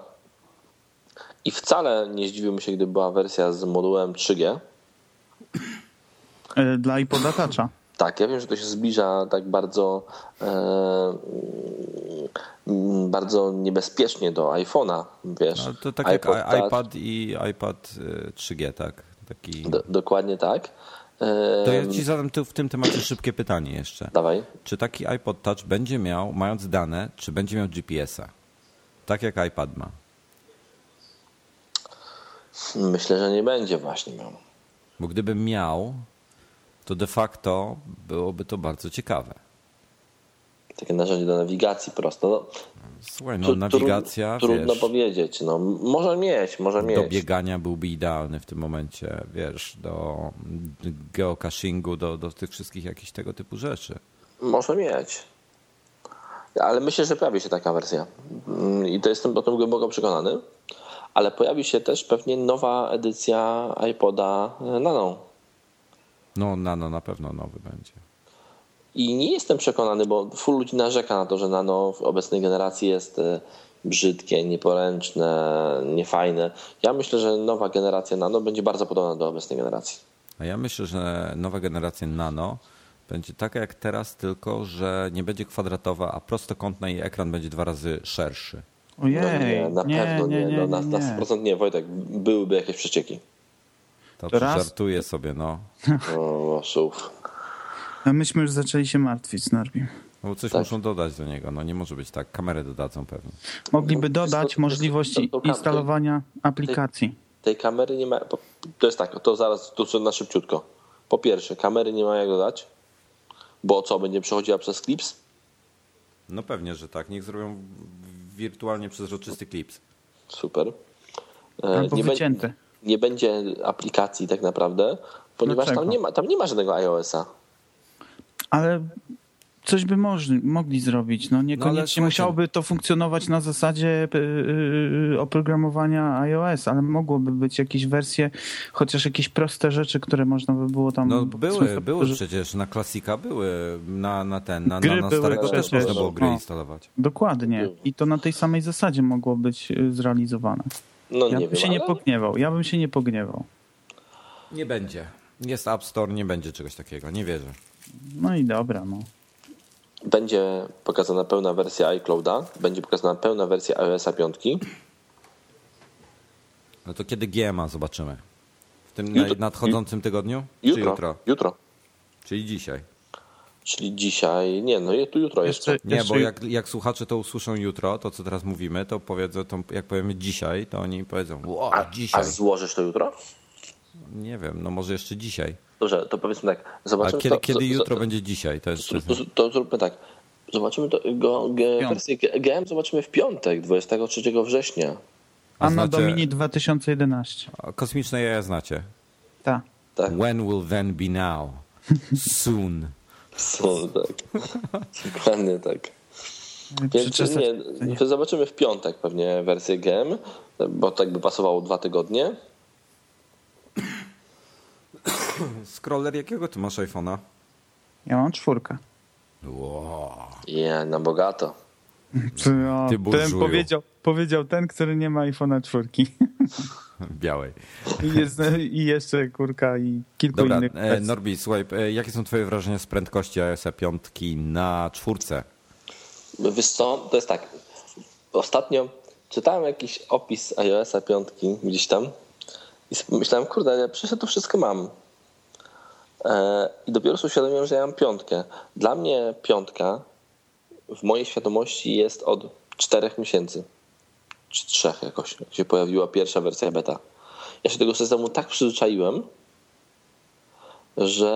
[SPEAKER 2] I wcale nie zdziwiłbym się, gdyby była wersja z modułem 3G.
[SPEAKER 1] E, Dla iPodatacza.
[SPEAKER 2] Tak, ja wiem, że to się zbliża tak bardzo, e, mm, bardzo niebezpiecznie do iPhone'a, wiesz.
[SPEAKER 3] Ale to tak jak
[SPEAKER 2] iPod
[SPEAKER 3] i-
[SPEAKER 2] Touch.
[SPEAKER 3] iPad i iPad y, 3G, tak? Taki...
[SPEAKER 2] Do, dokładnie tak. E,
[SPEAKER 3] To ja ci zadam tu, w tym temacie szybkie pytanie jeszcze.
[SPEAKER 2] Dawaj.
[SPEAKER 3] Czy taki iPod Touch będzie miał, mając dane, czy będzie miał GPS-a? Tak jak iPad ma.
[SPEAKER 2] Myślę, że nie będzie właśnie no. miał.
[SPEAKER 3] Bo gdyby miał, to de facto byłoby to bardzo ciekawe.
[SPEAKER 2] Takie narzędzie do nawigacji prosto. No,
[SPEAKER 3] Słuchaj, no
[SPEAKER 2] tru-
[SPEAKER 3] nawigacja,
[SPEAKER 2] tru- Trudno
[SPEAKER 3] wiesz,
[SPEAKER 2] powiedzieć. No, m- może mieć, może mieć.
[SPEAKER 3] do biegania byłby idealny w tym momencie, wiesz, do geocachingu, do, do tych wszystkich jakichś tego typu rzeczy.
[SPEAKER 2] Może mieć. Ale myślę, że pojawi się taka wersja. Mm, I to jestem o tym głęboko przekonany. Ale pojawi się też pewnie nowa edycja iPoda e, Nano.
[SPEAKER 3] No, na, no, na pewno nowy będzie.
[SPEAKER 2] I nie jestem przekonany, bo full ludzi narzeka na to, że Nano w obecnej generacji jest e, brzydkie, nieporęczne, niefajne. Ja myślę, że nowa generacja Nano będzie bardzo podobna do obecnej generacji.
[SPEAKER 3] A ja myślę, że nowa generacja Nano będzie taka jak teraz, tylko że nie będzie kwadratowa, a prostokątna i ekran będzie dwa razy szerszy.
[SPEAKER 1] Ojej,
[SPEAKER 2] No nie, na pewno nie, no, na, na 100% nie, Wojtek, byłyby jakieś przecieki.
[SPEAKER 3] To
[SPEAKER 1] Teraz-
[SPEAKER 3] żartuję sobie, no.
[SPEAKER 2] O, szuf.
[SPEAKER 1] A No myśmy już zaczęli się martwić z Norbim.
[SPEAKER 3] No bo coś
[SPEAKER 2] Tak.
[SPEAKER 3] muszą dodać do niego. No nie może być tak. Kamerę dodadzą pewnie.
[SPEAKER 1] Mogliby
[SPEAKER 2] No, to jest to- to
[SPEAKER 1] dodać
[SPEAKER 2] jest-
[SPEAKER 1] możliwości
[SPEAKER 2] to- to- to-
[SPEAKER 1] instalowania aplikacji.
[SPEAKER 2] tej kamery nie ma. po- To jest tak, to zaraz, to co na szybciutko. Po pierwsze, kamery nie ma jak dodać, bo co, będzie przechodziła przez klips?
[SPEAKER 3] No pewnie, że tak. Niech zrobią wirtualnie przezroczysty klips.
[SPEAKER 2] Super. E,
[SPEAKER 1] Albo
[SPEAKER 2] be-
[SPEAKER 1] wycięte.
[SPEAKER 2] nie będzie aplikacji tak naprawdę, ponieważ tam
[SPEAKER 1] Dlaczego?
[SPEAKER 2] nie, ma, tam nie ma żadnego iOS-a.
[SPEAKER 1] Ale coś by moż- mogli zrobić. No niekoniecznie
[SPEAKER 3] słuchajcie-
[SPEAKER 1] musiałoby to funkcjonować na zasadzie y, y, oprogramowania iOS, ale mogłoby być jakieś wersje, chociaż jakieś proste rzeczy, które można by było tam...
[SPEAKER 3] No
[SPEAKER 1] powiedzmy,
[SPEAKER 3] były, były
[SPEAKER 1] że-
[SPEAKER 3] przecież. Na klasika były. Na, na ten, na, na,
[SPEAKER 1] Gry
[SPEAKER 3] na
[SPEAKER 1] były
[SPEAKER 3] starego też
[SPEAKER 1] przecież.
[SPEAKER 3] można było gry
[SPEAKER 1] No.
[SPEAKER 3] instalować.
[SPEAKER 1] Dokładnie. I to na tej samej zasadzie mogło być y, zrealizowane.
[SPEAKER 2] No
[SPEAKER 1] Ja
[SPEAKER 2] nie
[SPEAKER 1] bym
[SPEAKER 2] wiem.
[SPEAKER 1] się nie
[SPEAKER 2] ale-
[SPEAKER 1] pogniewał. Ja bym się nie pogniewał.
[SPEAKER 3] Nie będzie. Jest App Store, nie będzie czegoś takiego. Nie wierzę.
[SPEAKER 1] No i dobra, no.
[SPEAKER 2] Będzie pokazana pełna wersja iClouda, będzie pokazana pełna wersja iOS-a 5.
[SPEAKER 3] No to kiedy GMA zobaczymy? W tym
[SPEAKER 2] Jutro-
[SPEAKER 3] naj- nadchodzącym tygodniu? Czy
[SPEAKER 2] Jutro.
[SPEAKER 3] jutro?
[SPEAKER 2] jutro.
[SPEAKER 3] Czyli dzisiaj.
[SPEAKER 2] Czyli dzisiaj, nie, no je- tu jutro jeszcze.
[SPEAKER 1] Jeszcze,
[SPEAKER 3] Nie,
[SPEAKER 1] jeszcze
[SPEAKER 3] bo jak, jak słuchacze to usłyszą jutro, to co teraz mówimy, to powiedzą, to jak powiemy dzisiaj, to oni powiedzą, wow,
[SPEAKER 2] A, a
[SPEAKER 3] dzisiaj.
[SPEAKER 2] złożysz to jutro?
[SPEAKER 3] Nie wiem, no może jeszcze dzisiaj.
[SPEAKER 2] Dobrze, to powiedzmy tak.
[SPEAKER 3] A
[SPEAKER 2] Zobaczymy
[SPEAKER 3] kiedy,
[SPEAKER 2] to,
[SPEAKER 3] kiedy
[SPEAKER 2] z- z-
[SPEAKER 3] jutro będzie dzisiaj? To jest, to jest...
[SPEAKER 2] To, to zróbmy tak. Zobaczymy to, go, ge,
[SPEAKER 1] Piątek.
[SPEAKER 2] wersję G- GM zobaczymy w piątek, 23 września.
[SPEAKER 3] a
[SPEAKER 1] Anno
[SPEAKER 3] znacie-
[SPEAKER 1] Domini 2011.
[SPEAKER 3] A Kosmiczne jaja znacie.
[SPEAKER 1] Tak.
[SPEAKER 2] Tak.
[SPEAKER 3] When will then be now? Soon.
[SPEAKER 2] No, tak. Dokładnie tak. Więc
[SPEAKER 1] Przeczesać-
[SPEAKER 2] nie, no to zobaczymy w piątek pewnie wersję GM, bo tak by pasowało dwa tygodnie.
[SPEAKER 3] Scroller, jakiego ty masz iPhone'a?
[SPEAKER 1] Ja mam czwórkę.
[SPEAKER 3] Wow.
[SPEAKER 2] Je, na bogato.
[SPEAKER 1] Ty, o,
[SPEAKER 3] Ty
[SPEAKER 1] No, ten
[SPEAKER 3] burżuju.
[SPEAKER 1] powiedział, powiedział ten, który nie ma iPhone'a czwórki.
[SPEAKER 3] Białej.
[SPEAKER 1] I, jest, I jeszcze kurka i kilku
[SPEAKER 3] Dobra,
[SPEAKER 1] innych.
[SPEAKER 3] e, Norbi, słuchaj, e, jakie są twoje wrażenia z prędkości iOS 5 na czwórce?
[SPEAKER 2] Wiesz co, to jest tak. Ostatnio czytałem jakiś opis iOS-a 5 gdzieś tam i sobie myślałem, kurde, ale przecież ja to wszystko mam. E, I dopiero sobie uświadomiłem, że ja mam piątkę. Dla mnie piątka w mojej świadomości jest od czterech miesięcy. Czy trzech jakoś, jak się pojawiła pierwsza wersja beta. Ja się tego systemu tak przyzwyczaiłem, że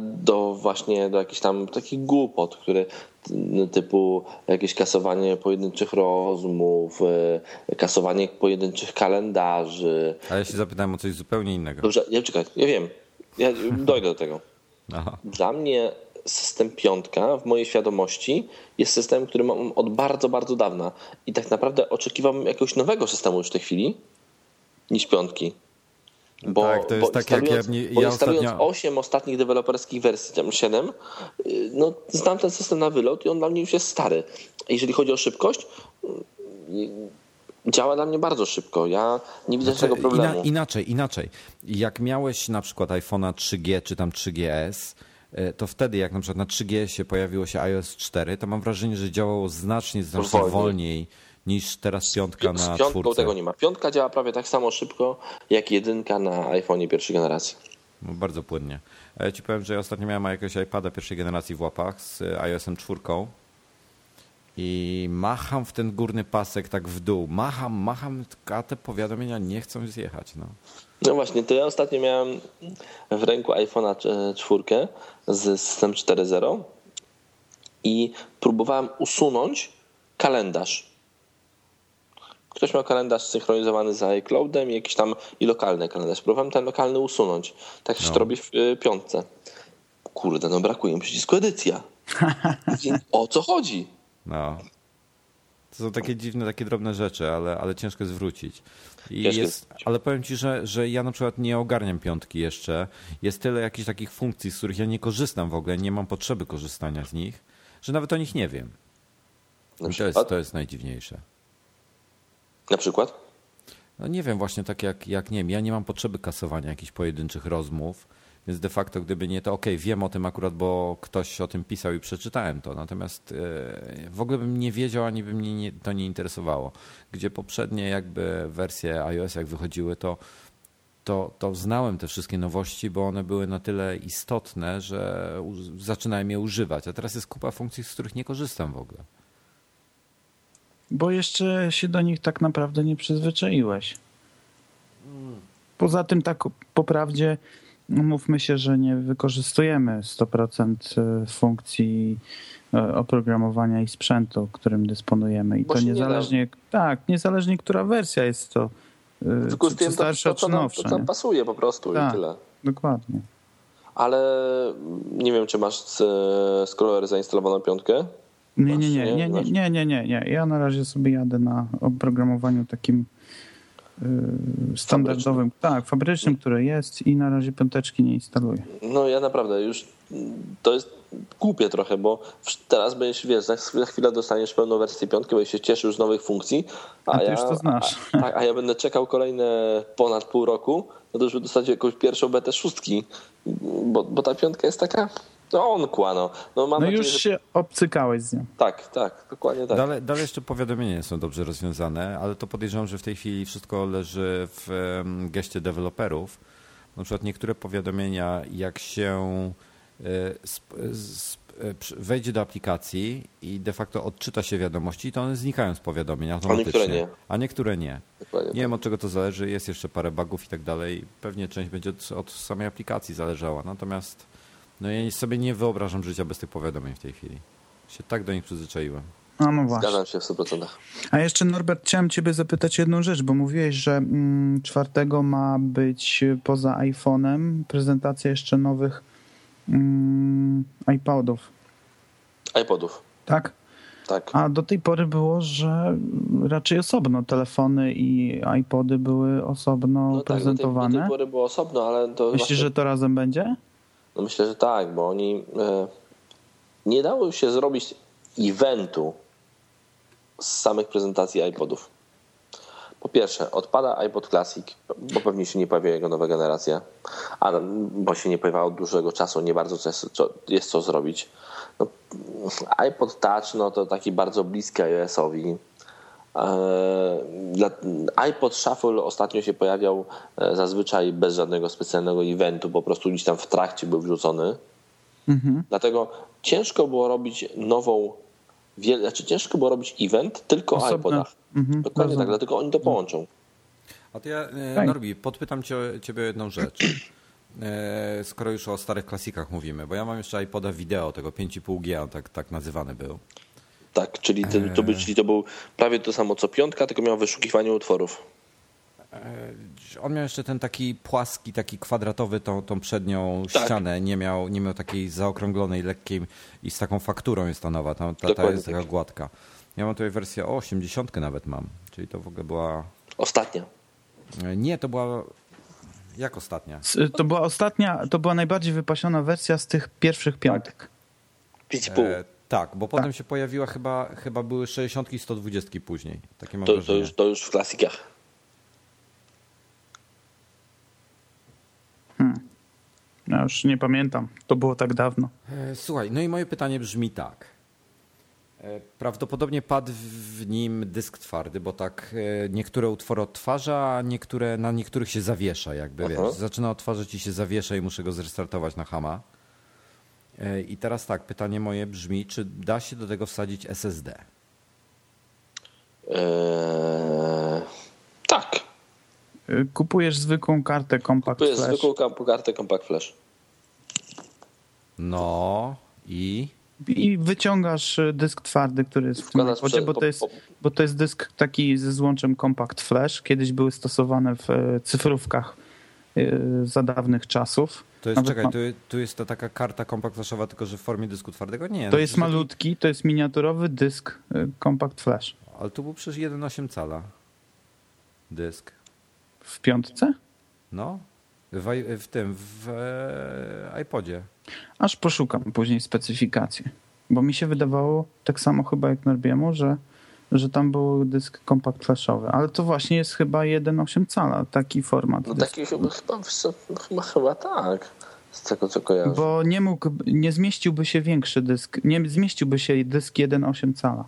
[SPEAKER 2] do właśnie do jakichś tam takich głupot, które ty- typu jakieś kasowanie pojedynczych rozmów, y, kasowanie pojedynczych kalendarzy.
[SPEAKER 3] A ja się zapytałem o coś zupełnie innego.
[SPEAKER 2] Dobrze, nie czekaj, ja wiem, ja dojdę do tego.
[SPEAKER 3] Aha.
[SPEAKER 2] Dla mnie system piątka w mojej świadomości jest systemem, który mam od bardzo, bardzo dawna i tak naprawdę oczekiwam jakiegoś nowego systemu już w tej chwili niż piątki. Bo,
[SPEAKER 3] tak, to jest
[SPEAKER 2] bo
[SPEAKER 3] tak, jak
[SPEAKER 2] instalując-
[SPEAKER 3] ja mnie-
[SPEAKER 2] bo
[SPEAKER 3] ja
[SPEAKER 2] instalując
[SPEAKER 3] ostatnio-
[SPEAKER 2] 8 ostatnich deweloperskich wersji, tam 7, yy, no znam ten system na wylot i on dla mnie już jest stary. Jeżeli chodzi o szybkość, yy, działa dla mnie bardzo szybko. Ja nie widzę
[SPEAKER 3] Znaczy,
[SPEAKER 2] żadnego problemu.
[SPEAKER 3] Ina, inaczej, inaczej. Jak miałeś na przykład iPhone'a 3G czy tam 3GS, e, to wtedy jak na przykład na 3G się pojawiło się iOS 4, to mam wrażenie, że działało znacznie, znacznie
[SPEAKER 2] Wolniej.
[SPEAKER 3] wolniej niż teraz piątka
[SPEAKER 2] Z
[SPEAKER 3] na
[SPEAKER 2] piątką
[SPEAKER 3] czwórce.
[SPEAKER 2] tego nie ma. Piątka działa prawie tak samo szybko jak jedynka na iPhone'ie pierwszej generacji.
[SPEAKER 3] No, Bardzo płynnie. A ja ci powiem, że ja ostatnio miałem jakiegoś iPada pierwszej generacji w łapach z e, iOS-em 4 i macham w ten górny pasek tak w dół. Macham, macham, a te powiadomienia nie chcą zjechać. No.
[SPEAKER 2] No właśnie, to ja ostatnio miałem w ręku iPhone'a cz- czwórkę z system 4.0 i próbowałem usunąć kalendarz. Ktoś miał kalendarz synchronizowany z iCloudem i jakiś tam i lokalny kalendarz. Próbowałem ten lokalny usunąć. Tak
[SPEAKER 3] No.
[SPEAKER 2] się to robi w y, piątce. Kurde, no brakuje mi przycisku edycja. O co chodzi?
[SPEAKER 3] No. To są takie dziwne, takie drobne rzeczy, ale, ale ciężko jest wrócić. I
[SPEAKER 2] Ciężko
[SPEAKER 3] jest, ale powiem ci, że, że ja na przykład nie ogarniam piątki jeszcze. Jest tyle jakichś takich funkcji, z których ja nie korzystam w ogóle, nie mam potrzeby korzystania z nich, że nawet o nich nie wiem.
[SPEAKER 2] Na
[SPEAKER 3] I to, jest,
[SPEAKER 2] przykład?
[SPEAKER 3] to jest najdziwniejsze.
[SPEAKER 2] Na przykład?
[SPEAKER 3] No nie wiem, właśnie tak jak, jak nie wiem, ja nie mam potrzeby kasowania jakichś pojedynczych rozmów, więc de facto gdyby nie to, okej, wiem o tym akurat, bo ktoś o tym pisał i przeczytałem to, natomiast e, w ogóle bym nie wiedział, ani by mnie nie, to nie interesowało. Gdzie poprzednie jakby wersje iOS jak wychodziły, to, to, to znałem te wszystkie nowości, bo one były na tyle istotne, że u- zaczynałem je używać, a teraz jest kupa funkcji, z których nie korzystam w ogóle.
[SPEAKER 1] Bo jeszcze się do nich tak naprawdę nie przyzwyczaiłeś. Poza tym, tak po prawdzie, mówmy się, że nie wykorzystujemy 100% funkcji e, oprogramowania i sprzętu, którym dysponujemy. I
[SPEAKER 2] Bo
[SPEAKER 1] to
[SPEAKER 2] się nie da.
[SPEAKER 1] niezależnie, tak, niezależnie która wersja jest to, e,
[SPEAKER 2] Tylko
[SPEAKER 1] czy,
[SPEAKER 2] z
[SPEAKER 1] czy
[SPEAKER 2] tym to,
[SPEAKER 1] starsza,
[SPEAKER 2] to,
[SPEAKER 1] czy
[SPEAKER 2] co nam, to,
[SPEAKER 1] nowsza.
[SPEAKER 2] co nam
[SPEAKER 1] nie?
[SPEAKER 2] pasuje po prostu i
[SPEAKER 1] Tak.
[SPEAKER 2] tyle.
[SPEAKER 1] Dokładnie.
[SPEAKER 2] Ale nie wiem, czy masz e, scroller zainstalowaną piątkę?
[SPEAKER 1] Nie,
[SPEAKER 2] Masz,
[SPEAKER 1] nie, nie, nie, nie,
[SPEAKER 2] Masz.
[SPEAKER 1] nie, nie, nie, nie. Ja na razie sobie jadę na oprogramowaniu takim y, standardowym, tak, fabrycznym, które jest i na razie piąteczki nie instaluję.
[SPEAKER 2] No ja naprawdę już mm, to jest głupie trochę, bo w- teraz będziesz, wiesz, za chw- za chwilę dostaniesz pełną wersję piątki, będziesz się cieszył z nowych funkcji.
[SPEAKER 1] A ty już to znasz.
[SPEAKER 2] A, tak, a ja będę czekał kolejne ponad pół roku, no to żeby dostać jakąś pierwszą betę szóstki, bo, bo ta piątka jest taka, no on kłano. No, mam
[SPEAKER 1] No
[SPEAKER 2] nadzieję,
[SPEAKER 1] już
[SPEAKER 2] że...
[SPEAKER 1] się obcykałeś z nią.
[SPEAKER 2] Tak, tak, dokładnie tak.
[SPEAKER 3] Dalej, dalej jeszcze powiadomienia nie są dobrze rozwiązane, ale to podejrzewam, że w tej chwili wszystko leży w em, geście deweloperów. Na przykład niektóre powiadomienia, jak się e, sp- e, sp- e, przy- wejdzie do aplikacji i de facto odczyta się wiadomości, to one znikają z powiadomień
[SPEAKER 2] niektóre
[SPEAKER 3] automatycznie.
[SPEAKER 2] nie.
[SPEAKER 3] A niektóre nie.
[SPEAKER 2] Dokładnie. tak.
[SPEAKER 3] Nie wiem od czego to zależy, jest jeszcze parę bugów i tak dalej. Pewnie część będzie od, od samej aplikacji zależała. Natomiast no ja sobie nie wyobrażam życia bez tych powiadomień w tej chwili. Się tak do nich przyzwyczaiłem.
[SPEAKER 1] A no właśnie.
[SPEAKER 2] Zgadzam się w 100%.
[SPEAKER 1] A jeszcze Norbert, chciałem ciebie zapytać jedną rzecz, bo mówiłeś, że mm, czwartego ma być y, poza iPhone'em prezentacja jeszcze nowych mm, iPodów,
[SPEAKER 2] iPodów,
[SPEAKER 1] tak?
[SPEAKER 2] tak.
[SPEAKER 1] A do tej pory było, że raczej osobno telefony i iPody były osobno
[SPEAKER 2] No tak, do tej, do
[SPEAKER 1] prezentowane.
[SPEAKER 2] tej pory było osobno, ale to właśnie-
[SPEAKER 1] Myślisz, że to razem będzie?
[SPEAKER 2] No myślę, że tak, bo oni e, nie dało się zrobić eventu z samych prezentacji iPodów. Po pierwsze, odpada iPod Classic, bo pewnie się nie pojawiła jego nowa generacja, a bo się nie pojawiała od dłuższego czasu, nie bardzo co jest, co, jest co zrobić. No, iPod Touch no, to taki bardzo bliski iOS-owi. E, dla- iPod Shuffle ostatnio się pojawiał e, zazwyczaj bez żadnego specjalnego eventu, po prostu gdzieś tam w trakcie był wrzucony.
[SPEAKER 1] Mhm.
[SPEAKER 2] Dlatego ciężko było robić nową, wiel- znaczy ciężko było robić event tylko o
[SPEAKER 1] Osobno.
[SPEAKER 2] iPodach.
[SPEAKER 1] Mhm,
[SPEAKER 2] Dokładnie
[SPEAKER 1] rozumiem.
[SPEAKER 2] tak, dlatego oni to połączą.
[SPEAKER 3] A to ja, e,
[SPEAKER 1] Fajnie.
[SPEAKER 3] Norbi, podpytam cię, ciebie o jedną rzecz. E, Skoro już o starych klasikach mówimy, bo ja mam jeszcze iPoda wideo, tego 5,5G, on tak, tak nazywany był.
[SPEAKER 2] Tak, czyli to, to, by, czyli to był prawie to samo co piątka, tylko miał wyszukiwanie utworów.
[SPEAKER 3] On miał jeszcze ten taki płaski, taki kwadratowy tą, tą przednią
[SPEAKER 2] Tak.
[SPEAKER 3] ścianę, nie miał, nie miał takiej zaokrąglonej, lekkiej i z taką fakturą jest ta nowa, ta, ta, ta
[SPEAKER 2] Dokładnie
[SPEAKER 3] jest
[SPEAKER 2] tak.
[SPEAKER 3] taka gładka. Ja mam tutaj wersję o 80 nawet mam, czyli to w ogóle była...
[SPEAKER 2] Ostatnia.
[SPEAKER 3] e, Nie, to była jak ostatnia.
[SPEAKER 1] S- To była ostatnia, to była najbardziej wypasiona wersja z tych pierwszych
[SPEAKER 2] Tak.
[SPEAKER 1] piątek.
[SPEAKER 2] 5,5.
[SPEAKER 3] E, tak, bo potem się pojawiła chyba, chyba były 60 i 120 później. Takie mam
[SPEAKER 2] To, to,
[SPEAKER 3] wrażenie.
[SPEAKER 2] już, to już w klasikach.
[SPEAKER 1] Ja już nie pamiętam, to było tak dawno.
[SPEAKER 3] E, Słuchaj, no i moje pytanie brzmi tak. E, Prawdopodobnie padł w nim dysk twardy, bo tak e, niektóre utwory odtwarza, a niektóre, na niektórych się zawiesza, jakby
[SPEAKER 2] Aha.
[SPEAKER 3] wiesz. Zaczyna odtwarzać i się zawiesza i muszę go zrestartować na hama. E, I teraz tak, pytanie moje brzmi, czy da się do tego wsadzić SSD?
[SPEAKER 2] Eee, tak,
[SPEAKER 1] Y, Kupujesz zwykłą kartę Compact
[SPEAKER 2] to jest
[SPEAKER 1] Flash.
[SPEAKER 2] zwykłą kam- kartę Compact Flash.
[SPEAKER 3] No i...
[SPEAKER 1] I wyciągasz y, dysk twardy, który jest w tym
[SPEAKER 2] Wkładasz
[SPEAKER 1] iPodzie,
[SPEAKER 2] przed-
[SPEAKER 1] bo
[SPEAKER 2] po-
[SPEAKER 1] to, jest,
[SPEAKER 2] po-
[SPEAKER 1] bo to jest dysk taki ze złączem Compact Flash. Kiedyś były stosowane w e, cyfrówkach e, za dawnych czasów.
[SPEAKER 3] To jest,
[SPEAKER 1] Nawet
[SPEAKER 3] czekaj,
[SPEAKER 1] ma-
[SPEAKER 3] tu, tu jest ta taka karta kompaktaszowa, tylko że w formie dysku twardego? Nie.
[SPEAKER 1] to
[SPEAKER 3] no
[SPEAKER 1] jest
[SPEAKER 3] przecież-
[SPEAKER 1] malutki, to jest miniaturowy dysk e, Compact Flash.
[SPEAKER 3] Ale tu był przecież 1,8 cala dysk.
[SPEAKER 1] W piątce?
[SPEAKER 3] No, w, i- w tym, w e, iPodzie.
[SPEAKER 1] Aż poszukam później specyfikacji. Bo mi się wydawało, tak samo chyba jak Norbiemu, że, że tam był dysk Compact Flashowy. Ale to właśnie jest chyba 1,8 cala, taki format.
[SPEAKER 2] No
[SPEAKER 1] dysku.
[SPEAKER 2] taki chyba, chyba, no chyba, chyba tak, z tego co kojarzę.
[SPEAKER 1] Bo nie mógł, nie zmieściłby się większy dysk, nie zmieściłby się dysk 1,8 cala.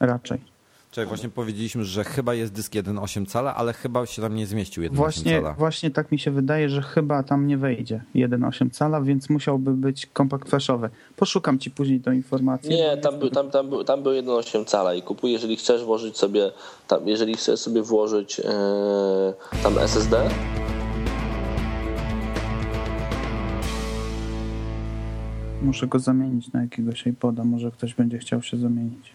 [SPEAKER 1] Raczej.
[SPEAKER 3] Czekaj, właśnie powiedzieliśmy, że chyba jest dysk 1,8 cala, ale chyba się tam nie zmieścił 1,8
[SPEAKER 1] Właśnie,
[SPEAKER 3] cala.
[SPEAKER 1] właśnie tak mi się wydaje, że chyba tam nie wejdzie 1,8 cala, więc musiałby być kompakt flashowy. Poszukam ci później tą informację.
[SPEAKER 2] Nie,
[SPEAKER 1] bo
[SPEAKER 2] tam był, tam, tam, był, tam był 1,8 cala i kupuj, jeżeli chcesz włożyć sobie, tam, jeżeli chcesz sobie włożyć e, tam SSD,
[SPEAKER 1] Muszę go zamienić na jakiegoś iPoda, może ktoś będzie chciał się zamienić.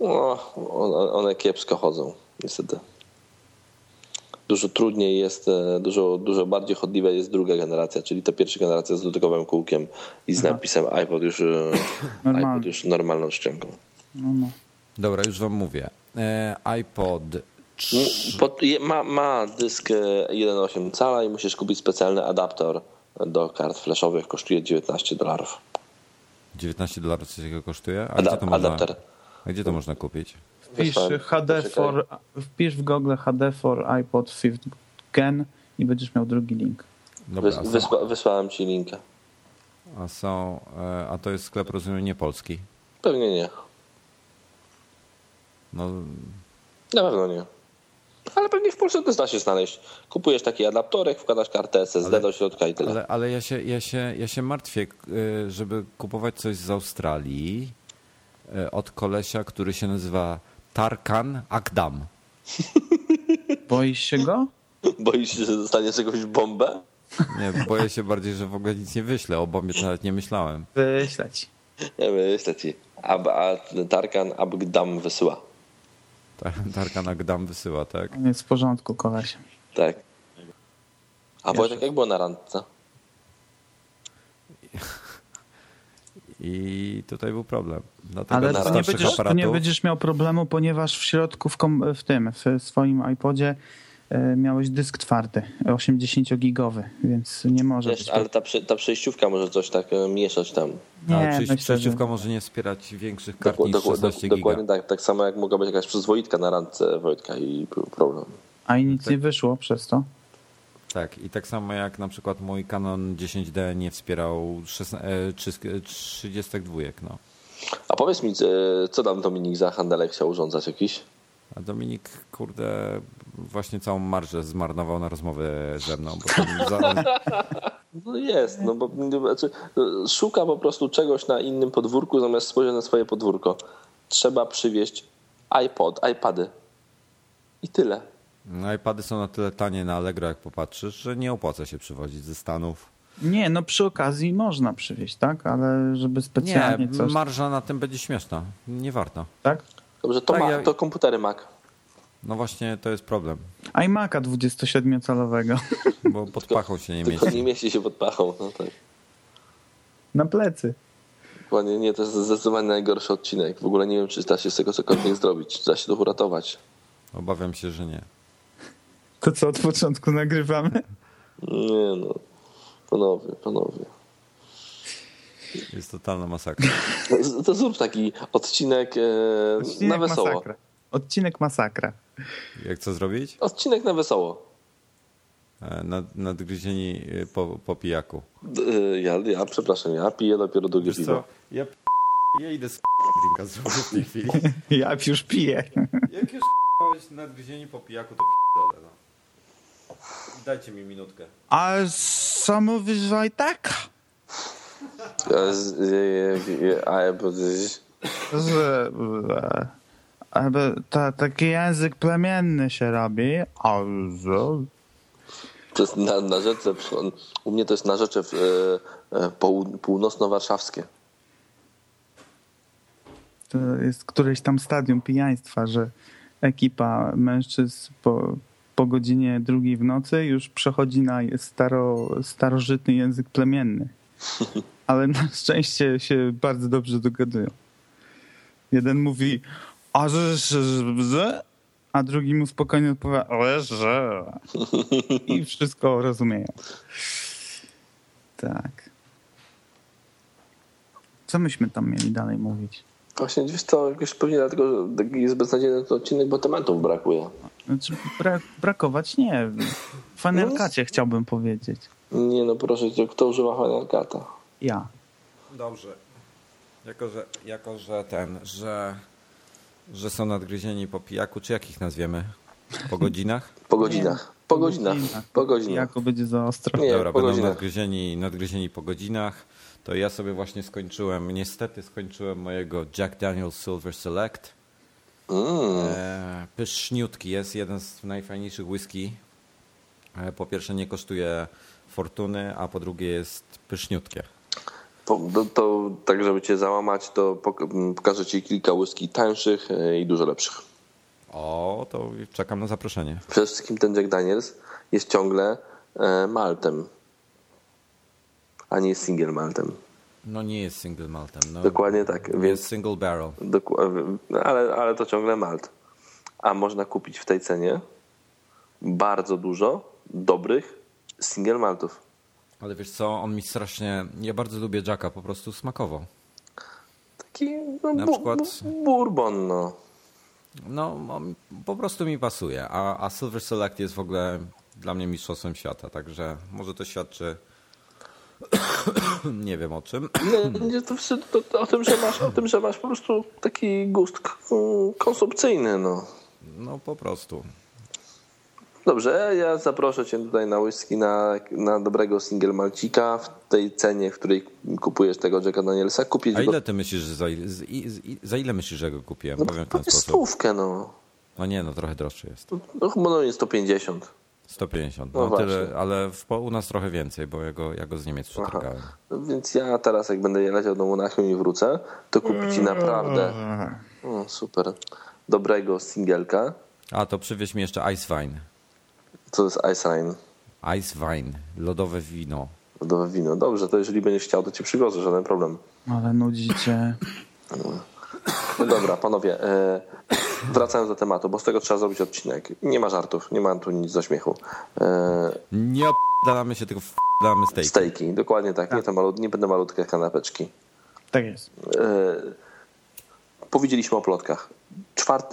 [SPEAKER 2] no, one, one kiepsko chodzą, niestety. Dużo trudniej jest, e, dużo, dużo bardziej chodliwa jest druga generacja, czyli ta pierwsza generacja z dotykowym kółkiem i z napisem iPod już, e,
[SPEAKER 1] Normalny.
[SPEAKER 2] iPod już normalną szczęką.
[SPEAKER 1] No, no.
[SPEAKER 3] Dobra, już wam mówię. E, iPod 3.
[SPEAKER 2] Pod, je, ma, ma dysk e, 1,8 cala i musisz kupić specjalny adapter do kart flashowych, kosztuje 19 dolarów.
[SPEAKER 3] 19 dolarów coś takiego kosztuje? A gdzie to można,
[SPEAKER 2] adapter.
[SPEAKER 3] A gdzie to można kupić?
[SPEAKER 1] Wpisz
[SPEAKER 2] Wysłałem.
[SPEAKER 1] HD
[SPEAKER 2] Poczekaj.
[SPEAKER 1] for, wpisz w Google HD for iPod 5th Gen i będziesz miał drugi link.
[SPEAKER 3] Dobra,
[SPEAKER 2] Wys,
[SPEAKER 3] a, są,
[SPEAKER 2] wysła, wysłałem ci linkę.
[SPEAKER 3] a, są, e, a to jest sklep, rozumiem, nie polski.
[SPEAKER 2] Pewnie nie.
[SPEAKER 3] No,
[SPEAKER 2] Na pewno nie. Ale pewnie w Polsce też da się znaleźć. Kupujesz taki adaptorek, wkładasz kartę SSD
[SPEAKER 3] Ale-
[SPEAKER 2] do środka i tyle.
[SPEAKER 3] Ale, ale ja, się, ja, się, ja się martwię, k- y, żeby kupować coś z Australii y, od kolesia, który się nazywa Tarkan Akdam.
[SPEAKER 1] Boisz się go?
[SPEAKER 2] Boisz się, że dostaniesz jakąś bombę?
[SPEAKER 3] Nie, boję się bardziej, że w ogóle nic nie wyślę, o bombie to nawet nie myślałem.
[SPEAKER 1] Wyślę ci.
[SPEAKER 2] Nie myślę ci. Ab, a Tarkan Abgdam wysyła.
[SPEAKER 3] Tar- Tarkan Akdam wysyła, tak?
[SPEAKER 1] On jest w porządku, koleś.
[SPEAKER 2] Tak. A Wojtek, jak było na randce?
[SPEAKER 3] I tutaj był problem. Dlatego
[SPEAKER 1] Ale
[SPEAKER 3] dla
[SPEAKER 1] tu nie,
[SPEAKER 3] starszych
[SPEAKER 1] będziesz, tu nie
[SPEAKER 3] aparatów-
[SPEAKER 1] będziesz miał problemu, ponieważ w środku, w, kom, w tym, w swoim iPodzie e, miałeś dysk twardy, 80-gigowy, więc nie może
[SPEAKER 2] Wiesz,
[SPEAKER 1] być.
[SPEAKER 2] ale ta, przy, ta przejściówka może coś tak e, mieszać tam.
[SPEAKER 3] Ale
[SPEAKER 1] Nie,
[SPEAKER 3] przejść-
[SPEAKER 1] myślę,
[SPEAKER 3] przejściówka
[SPEAKER 1] że-
[SPEAKER 3] No, może nie wspierać większych kart
[SPEAKER 2] Dokła-
[SPEAKER 3] niż
[SPEAKER 2] dokła-
[SPEAKER 3] 16 giga.
[SPEAKER 2] dokładnie tak, tak samo jak mogła być jakaś przyzwoitka na randce Wojtka i był problem.
[SPEAKER 1] A i nic nie wyszło przez to.
[SPEAKER 3] Tak, i tak samo jak na przykład mój Canon 10D nie wspierał 16, e, trzysk- e, 32, no.
[SPEAKER 2] A powiedz mi, e, co tam Dominik za handelek chciał urządzać jakiś?
[SPEAKER 3] A Dominik, kurde, właśnie całą marżę zmarnował na rozmowę ze mną, bo tam za,
[SPEAKER 2] No jest, no bo znaczy, e, szuka po prostu czegoś na innym podwórku zamiast spojrzeć na swoje podwórko. Trzeba przywieźć iPod, iPady. I tyle.
[SPEAKER 3] no, iPady są na tyle tanie na Allegro, jak popatrzysz, że nie opłaca się przywozić ze Stanów.
[SPEAKER 1] Nie, no przy okazji można przywieźć, tak? Ale żeby
[SPEAKER 3] Nie,
[SPEAKER 1] specjalnie coś,
[SPEAKER 3] marża na tym będzie śmieszna, nie warto.
[SPEAKER 1] tak?
[SPEAKER 2] Dobrze, to,
[SPEAKER 3] Tak,
[SPEAKER 2] ma,
[SPEAKER 3] ja-
[SPEAKER 2] to komputery Mac.
[SPEAKER 3] No właśnie, to jest problem,
[SPEAKER 1] iMac'a 27-calowego
[SPEAKER 3] bo pod pachą się nie
[SPEAKER 2] Tylko
[SPEAKER 3] mieści.
[SPEAKER 2] nie mieści się pod pachą. No tak.
[SPEAKER 1] na plecy.
[SPEAKER 2] Dokładnie, nie, to jest zdecydowanie najgorszy odcinek. W ogóle nie wiem, czy da się z tego cokolwiek zrobić, czy da się to uratować.
[SPEAKER 3] Obawiam się, że nie.
[SPEAKER 1] To co od początku nagrywamy?
[SPEAKER 2] Nie no, panowie, panowie.
[SPEAKER 3] Jest totalna masakra.
[SPEAKER 2] No, To- To zrób taki odcinek, e, na
[SPEAKER 1] Odcinek
[SPEAKER 2] wesoło.
[SPEAKER 1] masakra. Odcinek masakra.
[SPEAKER 3] Jak co zrobić?
[SPEAKER 2] Odcinek na wesoło.
[SPEAKER 3] E, Nad, nadgryzieni e, po, po pijaku.
[SPEAKER 2] D- e, Ja, ja przepraszam, ja piję dopiero drugie
[SPEAKER 3] Wiesz
[SPEAKER 2] piwo.
[SPEAKER 3] co, ja, p- ja idę z drinka zrobię w tej chwili.
[SPEAKER 1] Ja już piję.
[SPEAKER 3] Jak już p***ałeś nadgryzieni po pijaku, to p***dolę, no. Dajcie mi minutkę.
[SPEAKER 1] A co mówisz, Wojtek?
[SPEAKER 2] E, z- e, e, A ja bo- z-
[SPEAKER 1] że aby ta, taki język plemienny się robi, a że-
[SPEAKER 2] to jest na, na rzece, przy- u mnie to jest na rzece w, e, e, połu- północno-warszawskie.
[SPEAKER 1] to jest któreś tam stadium pijaństwa, że ekipa mężczyzn po, po godzinie drugiej w nocy już przechodzi na staro, starożytny język plemienny. Ale na szczęście się bardzo dobrze dogadują. Jeden mówi a że, że, że, że a drugi mu spokojnie odpowiada ale że i wszystko rozumieją. Tak. Co myśmy tam mieli dalej mówić?
[SPEAKER 2] Właśnie wiesz co, jakoś pewnie dlatego że taki jest beznadziejny ten odcinek, bo tematów brakuje.
[SPEAKER 1] Znaczy, bra- brakować nie.
[SPEAKER 3] No.
[SPEAKER 1] Final Cutie chciałbym powiedzieć.
[SPEAKER 2] Nie no proszę cię, kto używa Hanelkata?
[SPEAKER 1] Ja.
[SPEAKER 3] Dobrze. Jako, że, jako, że ten, że, że są nadgryzieni po pijaku, czy jak ich nazwiemy? Po godzinach?
[SPEAKER 2] Po godzinach. Po godzinach. Po godzinach.
[SPEAKER 1] Jako będzie za ostro.
[SPEAKER 2] Nie,
[SPEAKER 3] Dobra,
[SPEAKER 2] po
[SPEAKER 3] będą
[SPEAKER 2] godzinach.
[SPEAKER 3] nadgryzieni, nadgryzieni po godzinach. To ja sobie właśnie skończyłem, niestety skończyłem mojego Jack Daniel Silver Select.
[SPEAKER 2] Mm.
[SPEAKER 3] E, pyszniutki jest, jeden z najfajniejszych whisky. E, po pierwsze nie kosztuje fortuny, a po drugie jest pyszniutkie.
[SPEAKER 2] Po, to, to tak, żeby cię załamać, to pok- m, pokażę ci kilka whisky tańszych e, i dużo lepszych.
[SPEAKER 3] O, to czekam na zaproszenie.
[SPEAKER 2] Przede wszystkim ten Jack Daniels jest ciągle e, maltem, a nie jest single maltem.
[SPEAKER 3] No nie jest single maltem. No,
[SPEAKER 2] Dokładnie tak,
[SPEAKER 3] Jest
[SPEAKER 2] więc
[SPEAKER 3] single barrel.
[SPEAKER 2] doku- e, ale, ale to ciągle malt. A można kupić w tej cenie bardzo dużo dobrych single maltów.
[SPEAKER 3] Ale wiesz co, on mi strasznie... Ja bardzo lubię Jacka, po prostu smakowo.
[SPEAKER 2] Taki no,
[SPEAKER 3] Na
[SPEAKER 2] bu-
[SPEAKER 3] przykład-
[SPEAKER 2] bu- bourbon, no.
[SPEAKER 3] No, on po prostu mi pasuje. A, a Silver Select jest w ogóle dla mnie mistrzostwem świata, także może to świadczy... nie wiem o czym.
[SPEAKER 2] Nie, nie, to, wszy- to, to o, tym, że masz, o tym, że masz po prostu taki gust k- konsumpcyjny, no.
[SPEAKER 3] No po prostu.
[SPEAKER 2] Dobrze, ja zaproszę Cię tutaj na whisky, na, na dobrego single malcika w tej cenie, w której kupujesz tego Jacka Danielsa. Kupić
[SPEAKER 3] A
[SPEAKER 2] go
[SPEAKER 3] ile ty myślisz, że za, ile- z, i- z, i- za ile myślisz, że go kupiłem?
[SPEAKER 2] no,
[SPEAKER 3] Powiem w ten
[SPEAKER 2] powiedz
[SPEAKER 3] sposób.
[SPEAKER 2] stówkę, no.
[SPEAKER 3] No nie, no trochę droższy jest.
[SPEAKER 2] No chyba no jest 150.
[SPEAKER 3] 150,
[SPEAKER 2] No
[SPEAKER 3] no, tyle,
[SPEAKER 2] właśnie.
[SPEAKER 3] ale w, po- u nas trochę więcej, bo ja go, ja go z Niemiec przetargałem.
[SPEAKER 2] No Więc ja teraz, jak będę leciał do Monachium i wrócę, to kupię Ci naprawdę o, super dobrego singielka.
[SPEAKER 3] A to przywieź mi jeszcze Ice Wine.
[SPEAKER 2] Co to jest Ice Wine?
[SPEAKER 3] Ice Wine, lodowe wino.
[SPEAKER 2] Lodowe wino. Dobrze, to jeżeli będziesz chciał, to Ci przywiozę, żaden problem.
[SPEAKER 1] Ale nudzi cię.
[SPEAKER 2] No dobra, panowie, e, wracając do tematu, bo z tego trzeba zrobić odcinek. Nie ma żartów, nie ma tu nic do śmiechu. E,
[SPEAKER 3] Nie opdalamy się, tylko wdalamy steak.
[SPEAKER 2] Stejki, dokładnie tak. Nie, to malut, nie będą malutkie kanapeczki.
[SPEAKER 1] Tak jest.
[SPEAKER 2] E, Powiedzieliśmy o plotkach. 4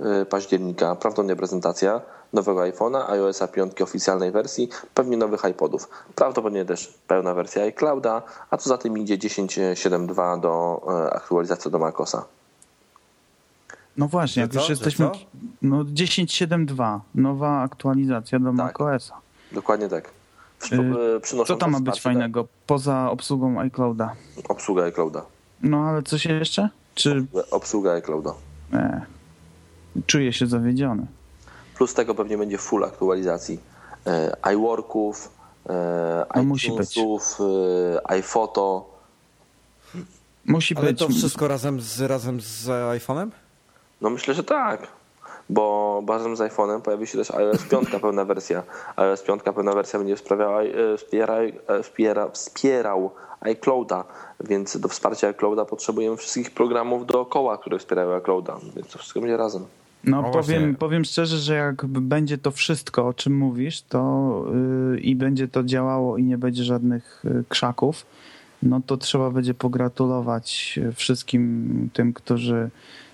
[SPEAKER 2] e, października, prawdopodobnie prezentacja nowego iPhone'a, iOS-a 5 oficjalnej wersji, pewnie nowych iPodów. Prawdopodobnie też pełna wersja iClouda, a co za tym idzie 10.7.2 do e, aktualizacji do MacOSa.
[SPEAKER 1] No właśnie, jak
[SPEAKER 3] Że
[SPEAKER 1] już
[SPEAKER 3] co? Że
[SPEAKER 1] jesteśmy...
[SPEAKER 3] co?
[SPEAKER 1] No 10.7.2, nowa aktualizacja do
[SPEAKER 2] Tak.
[SPEAKER 1] macOSa.
[SPEAKER 2] Dokładnie tak. Przy- przynoszą
[SPEAKER 1] Y, Co tam ma
[SPEAKER 2] też
[SPEAKER 1] być
[SPEAKER 3] tak.
[SPEAKER 2] wsparcie do-
[SPEAKER 1] fajnego poza obsługą iClouda?
[SPEAKER 2] Obsługa iClouda.
[SPEAKER 1] No ale coś jeszcze? Czy
[SPEAKER 2] Obsługa iClouda.
[SPEAKER 1] e, czuję się zawiedziony?
[SPEAKER 2] Plus tego pewnie będzie full aktualizacji e, iWorków, e,
[SPEAKER 1] No musi
[SPEAKER 2] iTunesów, e, iPhoto.
[SPEAKER 1] Musi
[SPEAKER 3] Ale
[SPEAKER 1] być.
[SPEAKER 3] to wszystko razem z, razem z iPhone'em?
[SPEAKER 2] No myślę, że tak. Bo razem z iPhone'em pojawi się też iOS 5 pełna wersja. iOS 5 pełna wersja będzie wspierała, e, wspiera, e, wspiera, wspierał iClouda, więc do wsparcia iClouda potrzebujemy wszystkich programów dookoła, które wspierają iClouda, więc to wszystko będzie razem.
[SPEAKER 1] No,
[SPEAKER 3] No właśnie.
[SPEAKER 1] powiem, powiem szczerze, że jak będzie to wszystko, o czym mówisz, to yy, i będzie to działało i nie będzie żadnych yy, krzaków, no to trzeba będzie pogratulować yy, wszystkim tym, którzy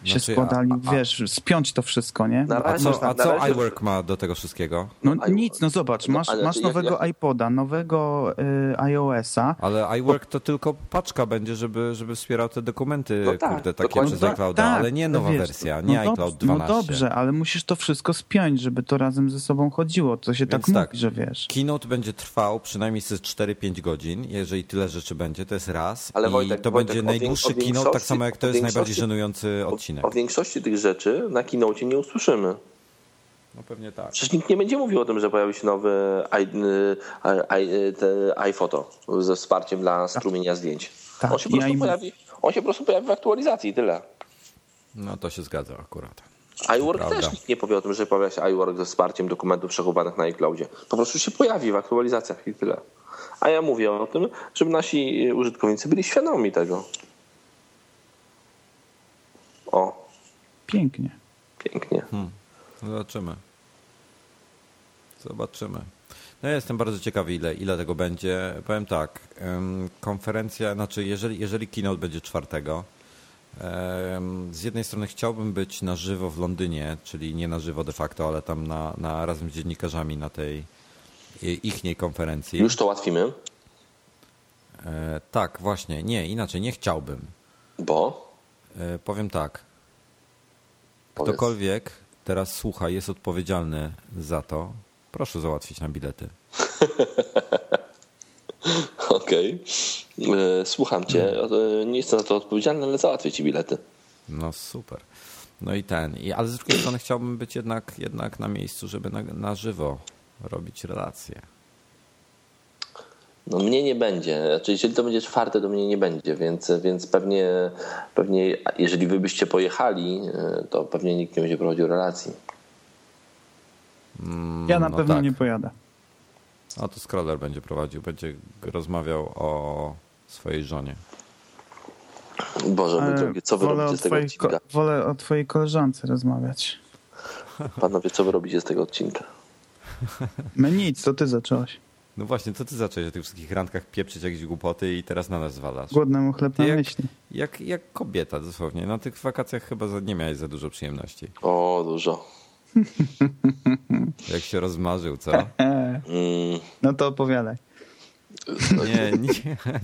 [SPEAKER 1] się
[SPEAKER 3] Znaczy, a-
[SPEAKER 1] składali.
[SPEAKER 3] a- a-
[SPEAKER 1] wiesz, spiąć to wszystko, nie?
[SPEAKER 2] Na
[SPEAKER 3] A
[SPEAKER 2] razie
[SPEAKER 3] co, a
[SPEAKER 2] tak, na
[SPEAKER 3] co
[SPEAKER 2] razie-
[SPEAKER 3] iWork ma do tego wszystkiego?
[SPEAKER 1] No
[SPEAKER 2] no,
[SPEAKER 1] nic, no zobacz,
[SPEAKER 2] no,
[SPEAKER 1] masz,
[SPEAKER 2] ale
[SPEAKER 1] masz
[SPEAKER 2] jak-
[SPEAKER 1] nowego
[SPEAKER 2] jak-
[SPEAKER 1] iPoda, nowego yy, iOS-a.
[SPEAKER 3] Ale iWork to tylko paczka będzie, żeby, żeby wspierał te dokumenty,
[SPEAKER 2] No tak,
[SPEAKER 3] kurde, takie
[SPEAKER 2] dokładnie.
[SPEAKER 3] przez
[SPEAKER 2] No
[SPEAKER 1] tak,
[SPEAKER 3] iClouda,
[SPEAKER 1] tak,
[SPEAKER 3] ale nie
[SPEAKER 1] no
[SPEAKER 3] nowa
[SPEAKER 1] wiesz,
[SPEAKER 3] wersja, nie
[SPEAKER 1] no
[SPEAKER 3] iCloud
[SPEAKER 1] dobrze,
[SPEAKER 3] 12.
[SPEAKER 1] No dobrze, ale musisz to wszystko spiąć, żeby to razem ze sobą chodziło. To się tak,
[SPEAKER 3] Więc tak.
[SPEAKER 1] mówi, że wiesz.
[SPEAKER 3] Keynote będzie trwał przynajmniej ze 4-5 godzin, jeżeli tyle rzeczy będzie, to jest raz.
[SPEAKER 2] Ale
[SPEAKER 3] I
[SPEAKER 2] Wojtek,
[SPEAKER 3] to
[SPEAKER 2] Wojtek,
[SPEAKER 3] będzie
[SPEAKER 2] o
[SPEAKER 3] najdłuższy
[SPEAKER 2] wiek- o
[SPEAKER 3] keynote, tak
[SPEAKER 2] większości-
[SPEAKER 3] samo jak to
[SPEAKER 2] o
[SPEAKER 3] jest najbardziej
[SPEAKER 2] większości-
[SPEAKER 3] żenujący odcinek.
[SPEAKER 2] O, o większości tych rzeczy na keynote nie usłyszymy.
[SPEAKER 3] No pewnie tak.
[SPEAKER 2] Przecież nikt nie będzie mówił o tym, że pojawi się nowy i, i, i, te iPhoto ze wsparciem dla strumienia zdjęć.
[SPEAKER 1] Tak,
[SPEAKER 2] On, się po
[SPEAKER 1] i
[SPEAKER 2] prostu
[SPEAKER 1] iMovie.
[SPEAKER 2] pojawi, on się po prostu pojawi w aktualizacji, tyle.
[SPEAKER 3] No to się zgadza akurat.
[SPEAKER 2] iWork
[SPEAKER 3] prawda.
[SPEAKER 2] też nikt nie powie o tym, że pojawia się iWork ze wsparciem dokumentów przechowanych na iCloudzie. Po prostu się pojawi w aktualizacjach i tyle. A ja mówię o tym, żeby nasi y, użytkownicy byli świadomi tego. O,
[SPEAKER 1] Pięknie.
[SPEAKER 2] pięknie.
[SPEAKER 3] Hmm. Zobaczymy. Zobaczymy. No ja jestem bardzo ciekawy, ile, ile tego będzie. Powiem tak, em, konferencja, znaczy jeżeli, jeżeli keynote będzie czwartego, em, z jednej strony chciałbym być na żywo w Londynie, czyli nie na żywo de facto, ale tam na, na razem z dziennikarzami na tej i- ichniej konferencji.
[SPEAKER 2] Już to łatwimy,
[SPEAKER 3] E, Tak, właśnie, nie, inaczej, nie chciałbym.
[SPEAKER 2] bo...
[SPEAKER 3] E, Powiem tak,
[SPEAKER 2] powiedz.
[SPEAKER 3] Ktokolwiek teraz słucha, jest odpowiedzialny za to, proszę załatwić nam bilety.
[SPEAKER 2] Okej. E, Słucham cię.
[SPEAKER 1] Hmm.
[SPEAKER 2] E, Nie jestem za to odpowiedzialny, ale załatwię ci bilety.
[SPEAKER 3] No super. No i ten. I, ale z drugiej strony chciałbym być jednak, jednak na miejscu, żeby na, na żywo robić relacje.
[SPEAKER 2] No mnie nie będzie. Znaczy, jeżeli to będzie czwarte, to mnie nie będzie, więc, więc pewnie, pewnie jeżeli wy byście pojechali, e, to pewnie nikt nie będzie prowadził relacji.
[SPEAKER 1] Ja na
[SPEAKER 3] no
[SPEAKER 1] pewno
[SPEAKER 3] tak.
[SPEAKER 1] nie pojadę.
[SPEAKER 3] A to Scroller będzie prowadził, będzie rozmawiał o swojej żonie.
[SPEAKER 2] Boże mój
[SPEAKER 1] E,
[SPEAKER 2] drogi, co wy
[SPEAKER 1] wolę
[SPEAKER 2] robicie
[SPEAKER 1] o
[SPEAKER 2] z tego
[SPEAKER 1] twojej
[SPEAKER 2] odcinka?
[SPEAKER 1] ko- wolę o twojej koleżance rozmawiać.
[SPEAKER 2] Panowie, co wy robicie z tego odcinka?
[SPEAKER 1] My nic, to ty zaczęłaś.
[SPEAKER 3] No właśnie, co ty zacząłeś o tych wszystkich randkach pieprzyć jakieś głupoty i teraz na nas zwalasz?
[SPEAKER 1] Głodnemu chleb
[SPEAKER 3] Ty
[SPEAKER 1] na
[SPEAKER 3] jak-
[SPEAKER 1] myśli.
[SPEAKER 3] Jak, jak kobieta dosłownie. Na tych wakacjach chyba za- nie miałeś za dużo przyjemności.
[SPEAKER 2] O, dużo.
[SPEAKER 3] Jak się rozmarzył, co?
[SPEAKER 1] E,
[SPEAKER 2] Mm,
[SPEAKER 1] no to opowiadaj.
[SPEAKER 4] Nie,
[SPEAKER 3] nie,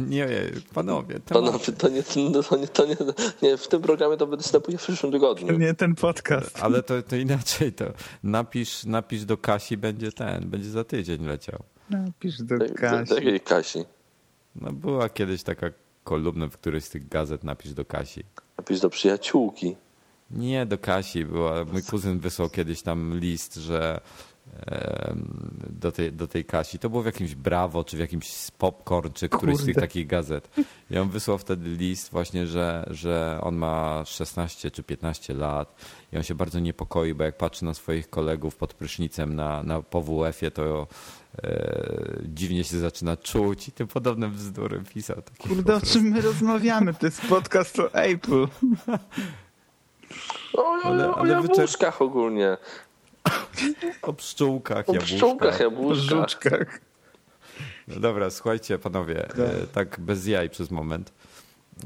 [SPEAKER 3] nie, panowie.
[SPEAKER 2] Panowie, to nie, to nie, to nie, nie, w tym programie to występuje w przyszłym tygodniu.
[SPEAKER 1] Nie ten podcast.
[SPEAKER 3] Ale to, to inaczej, to napisz, napisz do Kasi, będzie ten, będzie za tydzień leciał.
[SPEAKER 1] Napisz No, do
[SPEAKER 2] Tak- tak-
[SPEAKER 1] Kasi.
[SPEAKER 2] Takiej Kasi.
[SPEAKER 3] No była kiedyś taka kolumna w którejś z tych gazet, napisz do Kasi.
[SPEAKER 2] Napisz do przyjaciółki.
[SPEAKER 3] Nie, do Kasi była. Mój kuzyn wysłał kiedyś tam list, że em, do tej, do tej Kasi. To było w jakimś Brawo, czy w jakimś Popcorn, czy któryś z tych
[SPEAKER 1] Kurde.
[SPEAKER 3] takich gazet. I on wysłał wtedy list właśnie, że, że on ma 16 czy 15 lat i on się bardzo niepokoi, bo jak patrzy na swoich kolegów pod prysznicem na, na PWF-ie, to e, dziwnie się zaczyna czuć i tym podobne bzdury pisał. Taki po
[SPEAKER 1] Kurde, o
[SPEAKER 3] prostu.
[SPEAKER 1] czym my rozmawiamy? To jest podcast o Apple.
[SPEAKER 2] O, o,
[SPEAKER 3] Ale-
[SPEAKER 2] o
[SPEAKER 3] ale
[SPEAKER 2] jabłuszkach ogólnie.
[SPEAKER 3] O pszczółkach,
[SPEAKER 2] O
[SPEAKER 3] jabłuszkach.
[SPEAKER 2] pszczółkach,
[SPEAKER 1] O
[SPEAKER 2] jabłuszkach.
[SPEAKER 1] żuczkach.
[SPEAKER 3] No dobra, słuchajcie panowie, e, tak bez jaj przez moment.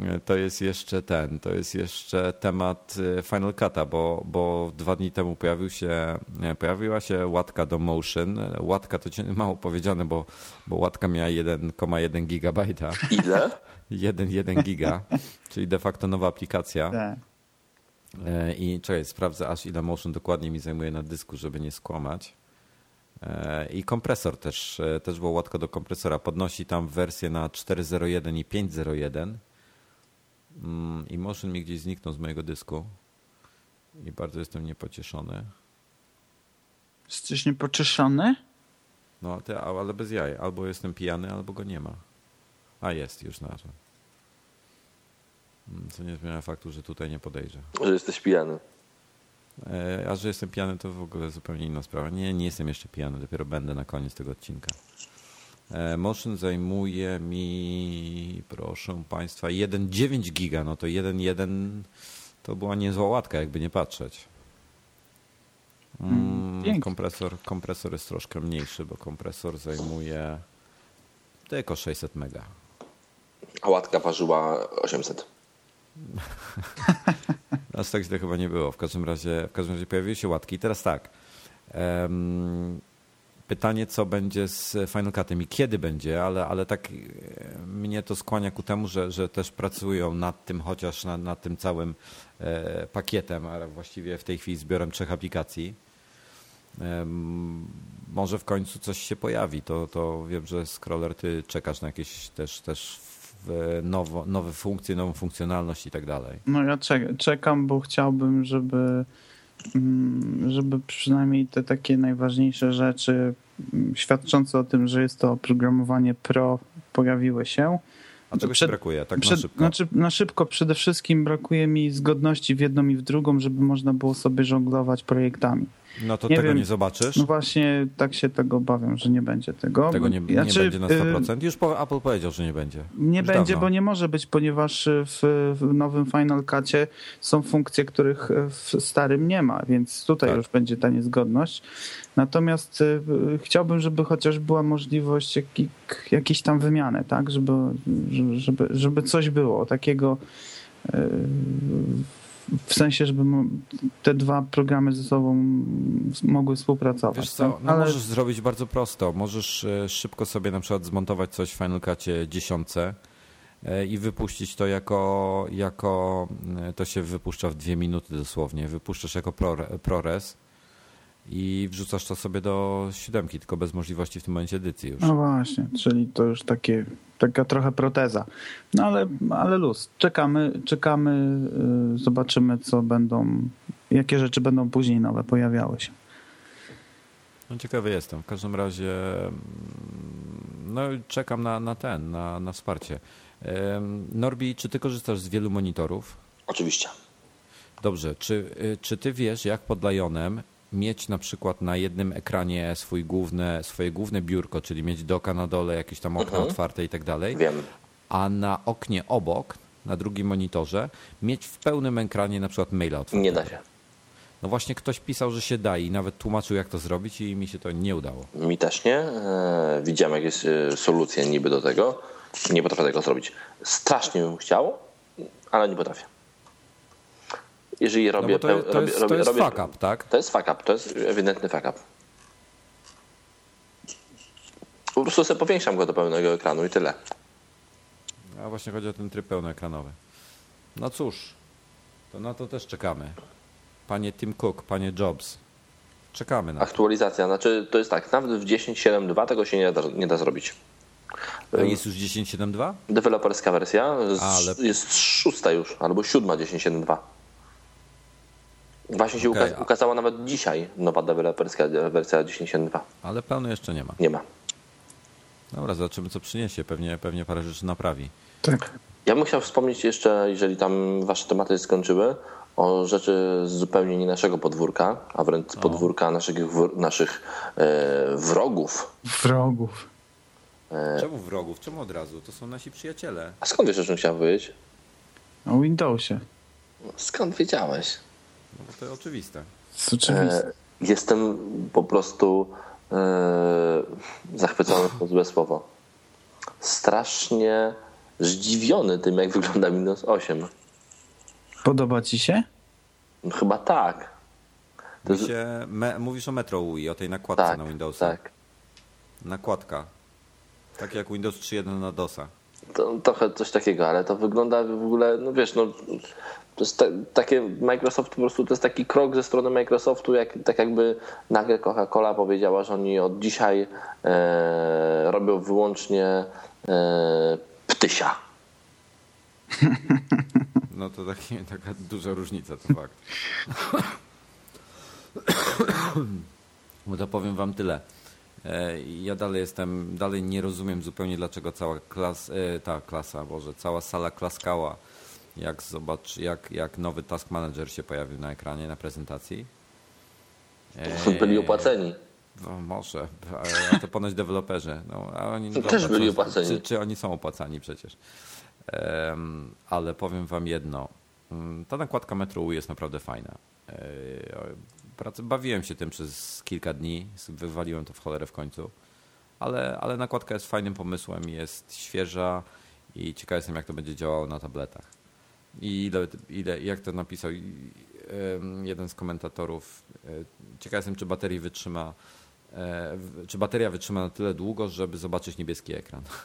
[SPEAKER 3] E, To jest jeszcze ten, to jest jeszcze temat e, Final Cut'a, bo, bo dwa dni temu pojawił się, e, pojawiła się łatka do Motion. E, Łatka to cię- mało powiedziane, bo, bo łatka miała 1,1 gigabajta.
[SPEAKER 2] Ile?
[SPEAKER 3] 1,1 giga, czyli de facto nowa aplikacja.
[SPEAKER 1] Tak.
[SPEAKER 3] E, I czekaj, sprawdzę aż ile motion dokładnie mi zajmuje na dysku, żeby nie skłamać. E, I kompresor też, e, też było łatwo do kompresora. Podnosi tam wersję na 4.01 i 5.01. Mm, I motion mi gdzieś zniknął z mojego dysku. I bardzo jestem niepocieszony.
[SPEAKER 1] Jesteś niepoczeszony?
[SPEAKER 3] No ale te- ale bez jaj. Albo jestem pijany, albo go nie ma. A jest, już znalazłem. Mm, Co nie zmienia faktu, że tutaj nie podejrzę.
[SPEAKER 2] Że jesteś pijany.
[SPEAKER 3] E, A że jestem pijany, to w ogóle zupełnie inna sprawa. Nie, nie jestem jeszcze pijany, dopiero będę na koniec tego odcinka. E, Motion zajmuje mi, proszę Państwa, 1,9 giga. No to 1,1 to była niezła łatka, jakby nie patrzeć. Mm,
[SPEAKER 1] pięknie.
[SPEAKER 3] kompresor, kompresor jest troszkę mniejszy, bo kompresor zajmuje tylko 600 mega.
[SPEAKER 2] A łatka ważyła 800.
[SPEAKER 3] Aż tak źle chyba nie było. W każdym razie, w każdym razie pojawiły się łatki. I teraz tak. Em, pytanie, co będzie z Final Cutem i kiedy będzie, ale, ale tak e, mnie to skłania ku temu, że, że też pracują nad tym, chociaż nad, nad tym całym e, pakietem, ale właściwie w tej chwili zbiorem trzech aplikacji. Em, może w końcu coś się pojawi. To, to wiem, że scroller, ty czekasz na jakieś też, też w- nowo, nowe funkcje, nową funkcjonalność i tak dalej.
[SPEAKER 1] No ja czek- czekam, bo chciałbym, żeby, mm, żeby przynajmniej te takie najważniejsze rzeczy mm, świadczące o tym, że jest to oprogramowanie pro pojawiły się.
[SPEAKER 3] A czegoś
[SPEAKER 1] Przed-
[SPEAKER 3] brakuje, tak
[SPEAKER 1] Przed-
[SPEAKER 3] na szybko.
[SPEAKER 1] Znaczy, na szybko przede wszystkim brakuje mi zgodności w jedną i w drugą, żeby można było sobie żonglować projektami.
[SPEAKER 3] no to
[SPEAKER 1] nie
[SPEAKER 3] tego
[SPEAKER 1] wiem.
[SPEAKER 3] nie zobaczysz.
[SPEAKER 1] No właśnie tak się tego obawiam, że nie będzie tego.
[SPEAKER 3] tego nie, nie
[SPEAKER 1] Znaczy,
[SPEAKER 3] będzie na
[SPEAKER 1] y, no
[SPEAKER 3] 100%. Już po, Apple powiedział, że nie będzie.
[SPEAKER 1] Nie
[SPEAKER 3] Już
[SPEAKER 1] będzie,
[SPEAKER 3] dawno.
[SPEAKER 1] bo nie może być, ponieważ y, w, w nowym Final Cutie są funkcje, których y, w starym nie ma, więc tutaj
[SPEAKER 3] Tak.
[SPEAKER 1] już będzie ta niezgodność. Natomiast y, y, chciałbym, żeby chociaż była możliwość jak, jakiejś tam wymiany, tak? Żeby, żeby, żeby coś było takiego y, w sensie, żeby mo- te dwa programy ze sobą s- mogły współpracować.
[SPEAKER 3] Wiesz co,
[SPEAKER 1] tak?
[SPEAKER 3] no możesz zrobić bardzo prosto. Możesz e, szybko sobie na przykład zmontować coś w Final Cutie dziesiątce e, i wypuścić to jako, jako e, to się wypuszcza w dwie minuty dosłownie. Wypuszczasz jako prore- ProRes i wrzucasz to sobie do siódemki, tylko bez możliwości w tym momencie edycji już.
[SPEAKER 1] No właśnie, czyli to już takie, taka trochę proteza. No ale, ale luz. Czekamy, czekamy, yy, zobaczymy, co będą, jakie rzeczy będą później nowe pojawiały się.
[SPEAKER 3] No ciekawy jestem. W każdym razie mm, no, czekam na, na ten, na, na wsparcie. Em, Norbi, czy ty korzystasz z wielu monitorów?
[SPEAKER 2] Oczywiście.
[SPEAKER 3] Dobrze, czy, y, czy ty wiesz, jak pod Lionem mieć na przykład na jednym ekranie swój główne, swoje główne biurko, czyli mieć doka na dole, jakieś tam okna otwarte i tak dalej,
[SPEAKER 2] Mhm. Wiem.
[SPEAKER 3] a na oknie obok, na drugim monitorze, mieć w pełnym ekranie na przykład maila otwartego?
[SPEAKER 2] Nie da się.
[SPEAKER 3] No właśnie ktoś pisał, że się da i nawet tłumaczył, jak to zrobić i mi się to nie udało.
[SPEAKER 2] Mi też nie. E, Widziałem jakieś e, solucje niby do tego. Nie potrafię tego zrobić. Strasznie bym chciał, ale nie potrafię. Jeżeli
[SPEAKER 3] No
[SPEAKER 2] robię...
[SPEAKER 3] bo to,
[SPEAKER 2] peł-
[SPEAKER 3] to jest, to jest fuck up, tak?
[SPEAKER 2] To jest fuck up, to jest ewidentny fuck up. Po prostu sobie powiększam go do pełnego ekranu i tyle.
[SPEAKER 3] A właśnie chodzi o ten tryb pełnoekranowy. No cóż, to na to też czekamy. Panie Tim Cook, panie Jobs, czekamy na to.
[SPEAKER 2] Aktualizacja, znaczy to jest tak, nawet w 10.7.2 tego się nie da, nie da zrobić. e,
[SPEAKER 3] A Jest już 10.7.2?
[SPEAKER 2] Deweloperska wersja z,
[SPEAKER 3] Ale-
[SPEAKER 2] jest szósta już, albo siódma 10.7.2. Właśnie się
[SPEAKER 3] Okej,
[SPEAKER 2] uka-
[SPEAKER 3] a-
[SPEAKER 2] ukazała nawet dzisiaj nowa deweloperska wersja 10.7.2.
[SPEAKER 3] Ale pełny jeszcze nie ma.
[SPEAKER 2] Nie ma.
[SPEAKER 3] Dobra, zobaczymy co przyniesie. Pewnie, pewnie parę rzeczy naprawi.
[SPEAKER 1] Tak.
[SPEAKER 2] Ja bym chciał wspomnieć jeszcze, jeżeli tam wasze tematy się skończyły, o rzeczy z zupełnie nie naszego podwórka, a wręcz
[SPEAKER 3] No.
[SPEAKER 2] podwórka naszych, w- naszych e, wrogów.
[SPEAKER 1] Wrogów.
[SPEAKER 2] E.
[SPEAKER 3] Czemu wrogów? Czemu od razu? To są nasi przyjaciele.
[SPEAKER 2] A skąd wiesz, o czym chciałem powiedzieć?
[SPEAKER 1] O Windowsie.
[SPEAKER 2] Skąd wiedziałeś?
[SPEAKER 3] No bo to oczywiste.
[SPEAKER 1] To Oczywiście.
[SPEAKER 2] E, Jestem po prostu e, zachwycony to złe słowo. Strasznie zdziwiony tym, jak wygląda Windows 8.
[SPEAKER 1] Podoba ci się?
[SPEAKER 2] No, Chyba tak. To
[SPEAKER 3] Mi
[SPEAKER 2] jest-
[SPEAKER 3] się, me, mówisz o Metro UI, o tej nakładce
[SPEAKER 2] tak,
[SPEAKER 3] na Windowsa.
[SPEAKER 2] tak.
[SPEAKER 3] Nakładka. Tak jak Windows 3.1 na DOSa.
[SPEAKER 2] To, trochę coś takiego, ale to wygląda w ogóle, no wiesz, no to jest ta, takie Microsoft po prostu to jest taki krok ze strony Microsoftu, jak, tak jakby nagle Coca-Cola powiedziała, że oni od dzisiaj e, robią wyłącznie e, ptysia.
[SPEAKER 3] No to taki, taka duża różnica, to fakt. No to powiem wam tyle. E, Ja dalej jestem, dalej nie rozumiem zupełnie dlaczego cała klas, e, ta klasa, Boże, cała sala klaskała, jak zobacz, jak, jak nowy Task Manager się pojawił na ekranie, na prezentacji.
[SPEAKER 2] Byli opłaceni.
[SPEAKER 3] No może, ale to ponoć deweloperzy. No, a oni, no
[SPEAKER 2] Też byli opłaceni.
[SPEAKER 3] Czy, czy oni są opłacani przecież? Em, ale powiem wam jedno. Mm, Ta nakładka Metro U jest naprawdę fajna. Ej, prac- Bawiłem się tym przez kilka dni. Wywaliłem to w cholerę w końcu. Ale, ale nakładka jest fajnym pomysłem, jest świeża i ciekaw jestem, jak to będzie działało na tabletach. I ile, ile jak to napisał i- em, jeden z komentatorów, e, ciekaw jestem, czy baterii wytrzyma, e, w- czy bateria wytrzyma na tyle długo, żeby zobaczyć niebieski ekran.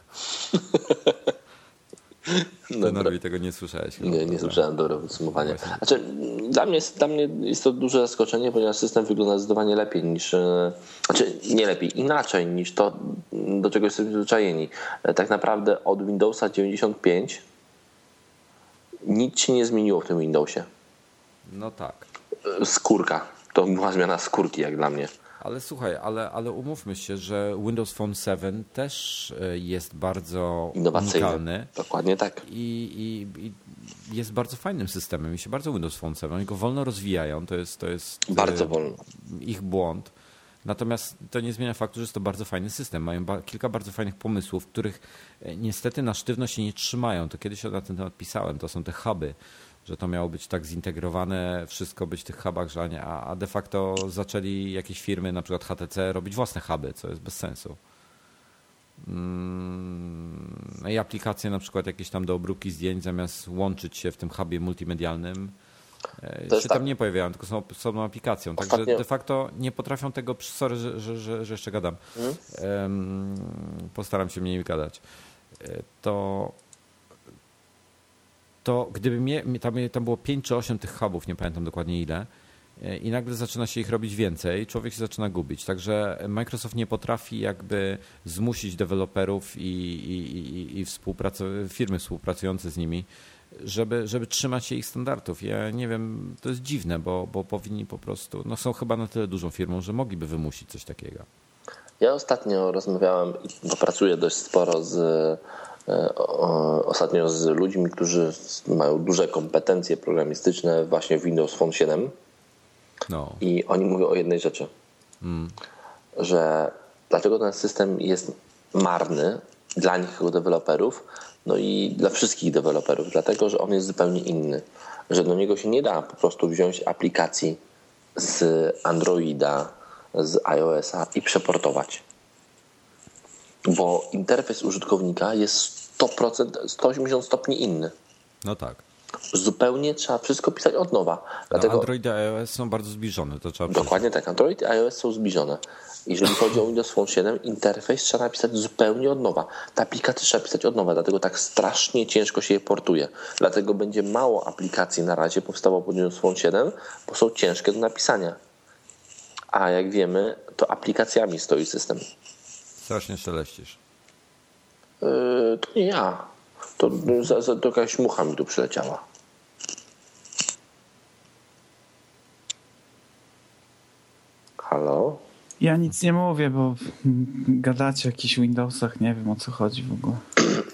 [SPEAKER 3] Ty
[SPEAKER 2] Dobra.
[SPEAKER 3] Norwi tego nie słyszałeś. chyba,
[SPEAKER 2] Nie, nie
[SPEAKER 3] prawda?
[SPEAKER 2] słyszałem dobre podsumowanie.
[SPEAKER 3] tak. Właśnie.
[SPEAKER 2] Znaczy, dla, mnie jest, dla mnie jest to duże zaskoczenie, ponieważ system wygląda zdecydowanie lepiej niż. e, Znaczy, nie lepiej, inaczej niż to, do czego jesteśmy przyzwyczajeni. E, Tak naprawdę od Windowsa 95 nic się nie zmieniło w tym Windowsie.
[SPEAKER 3] No tak.
[SPEAKER 2] E, Skórka. To była zmiana skórki, jak dla mnie.
[SPEAKER 3] Ale słuchaj, ale, ale umówmy się, że Windows Phone 7 też e, jest bardzo
[SPEAKER 2] Innowacyjny.
[SPEAKER 3] unikalny.
[SPEAKER 2] Dokładnie tak.
[SPEAKER 3] i, i, i jest bardzo fajnym systemem. Mi się bardzo Windows Phone 7. Oni go wolno rozwijają, to jest, to jest
[SPEAKER 2] Bardzo
[SPEAKER 3] e,
[SPEAKER 2] wolno.
[SPEAKER 3] ich błąd. Natomiast to nie zmienia faktu, że jest to bardzo fajny system. Mają ba- kilka bardzo fajnych pomysłów, których e, niestety na sztywno się nie trzymają. To kiedyś na ten temat pisałem. To są te huby, że to miało być tak zintegrowane, wszystko być w tych hubach, że a nie, a, a de facto zaczęli jakieś firmy, na przykład HTC, robić własne huby, co jest bez sensu. Mm, no I aplikacje na przykład jakieś tam do obróbki zdjęć, zamiast łączyć się w tym hubie multimedialnym, e,
[SPEAKER 2] To
[SPEAKER 3] się
[SPEAKER 2] jest
[SPEAKER 3] tam
[SPEAKER 2] tak.
[SPEAKER 3] nie pojawiają, tylko są osobną aplikacją. Także
[SPEAKER 2] Ostatnio-
[SPEAKER 3] de facto nie potrafią tego, przy- sorry, że, że, że, że jeszcze gadam,
[SPEAKER 2] Hmm?
[SPEAKER 3] Em, postaram się mniej gadać, E, to to gdyby mnie, mi- tam, tam było 5 czy 8 tych hubów, nie pamiętam dokładnie ile, e, i nagle zaczyna się ich robić więcej, człowiek się zaczyna gubić. Także Microsoft nie potrafi jakby zmusić deweloperów i, i, i- i, i współpracu- firmy współpracujące z nimi, żeby, żeby trzymać się ich standardów. Ja nie wiem, to jest dziwne, bo, bo powinni po prostu, no są chyba na tyle dużą firmą, że mogliby wymusić coś takiego.
[SPEAKER 2] Ja ostatnio rozmawiałem, bo pracuję dość sporo z, e, o- o, ostatnio z ludźmi, którzy s- mają duże kompetencje programistyczne właśnie w Windows Phone 7
[SPEAKER 3] No,
[SPEAKER 2] i oni mówią o jednej rzeczy, że dlaczego ten system jest marny dla nich jako deweloperów, no i dla wszystkich deweloperów, dlatego, że on jest zupełnie inny, że do niego się nie da po prostu wziąć aplikacji z Androida, z iOS-a i przeportować bo interfejs użytkownika jest 100%, 180 stopni inny.
[SPEAKER 3] no tak.
[SPEAKER 2] Zupełnie trzeba wszystko pisać od nowa.
[SPEAKER 3] No,
[SPEAKER 2] Dlatego
[SPEAKER 3] Android i iOS są bardzo zbliżone, to trzeba przyznać.
[SPEAKER 2] dokładnie tak, Android i iOS są zbliżone. Jeżeli chodzi o Windows Phone 7, interfejs trzeba napisać zupełnie od nowa. Ta aplikacja trzeba pisać od nowa, dlatego tak strasznie ciężko się je portuje. Dlatego będzie mało aplikacji na razie powstało pod Windows Phone 7, bo są ciężkie do napisania. A jak wiemy, to aplikacjami stoi system.
[SPEAKER 3] Strasznie szeleścisz.
[SPEAKER 2] Yy, to nie ja. To, yy, za, za, to jakaś mucha mi tu przyleciała. Halo?
[SPEAKER 1] Ja nic nie mówię, bo gadacie o jakichś Windowsach, nie wiem o co chodzi w ogóle.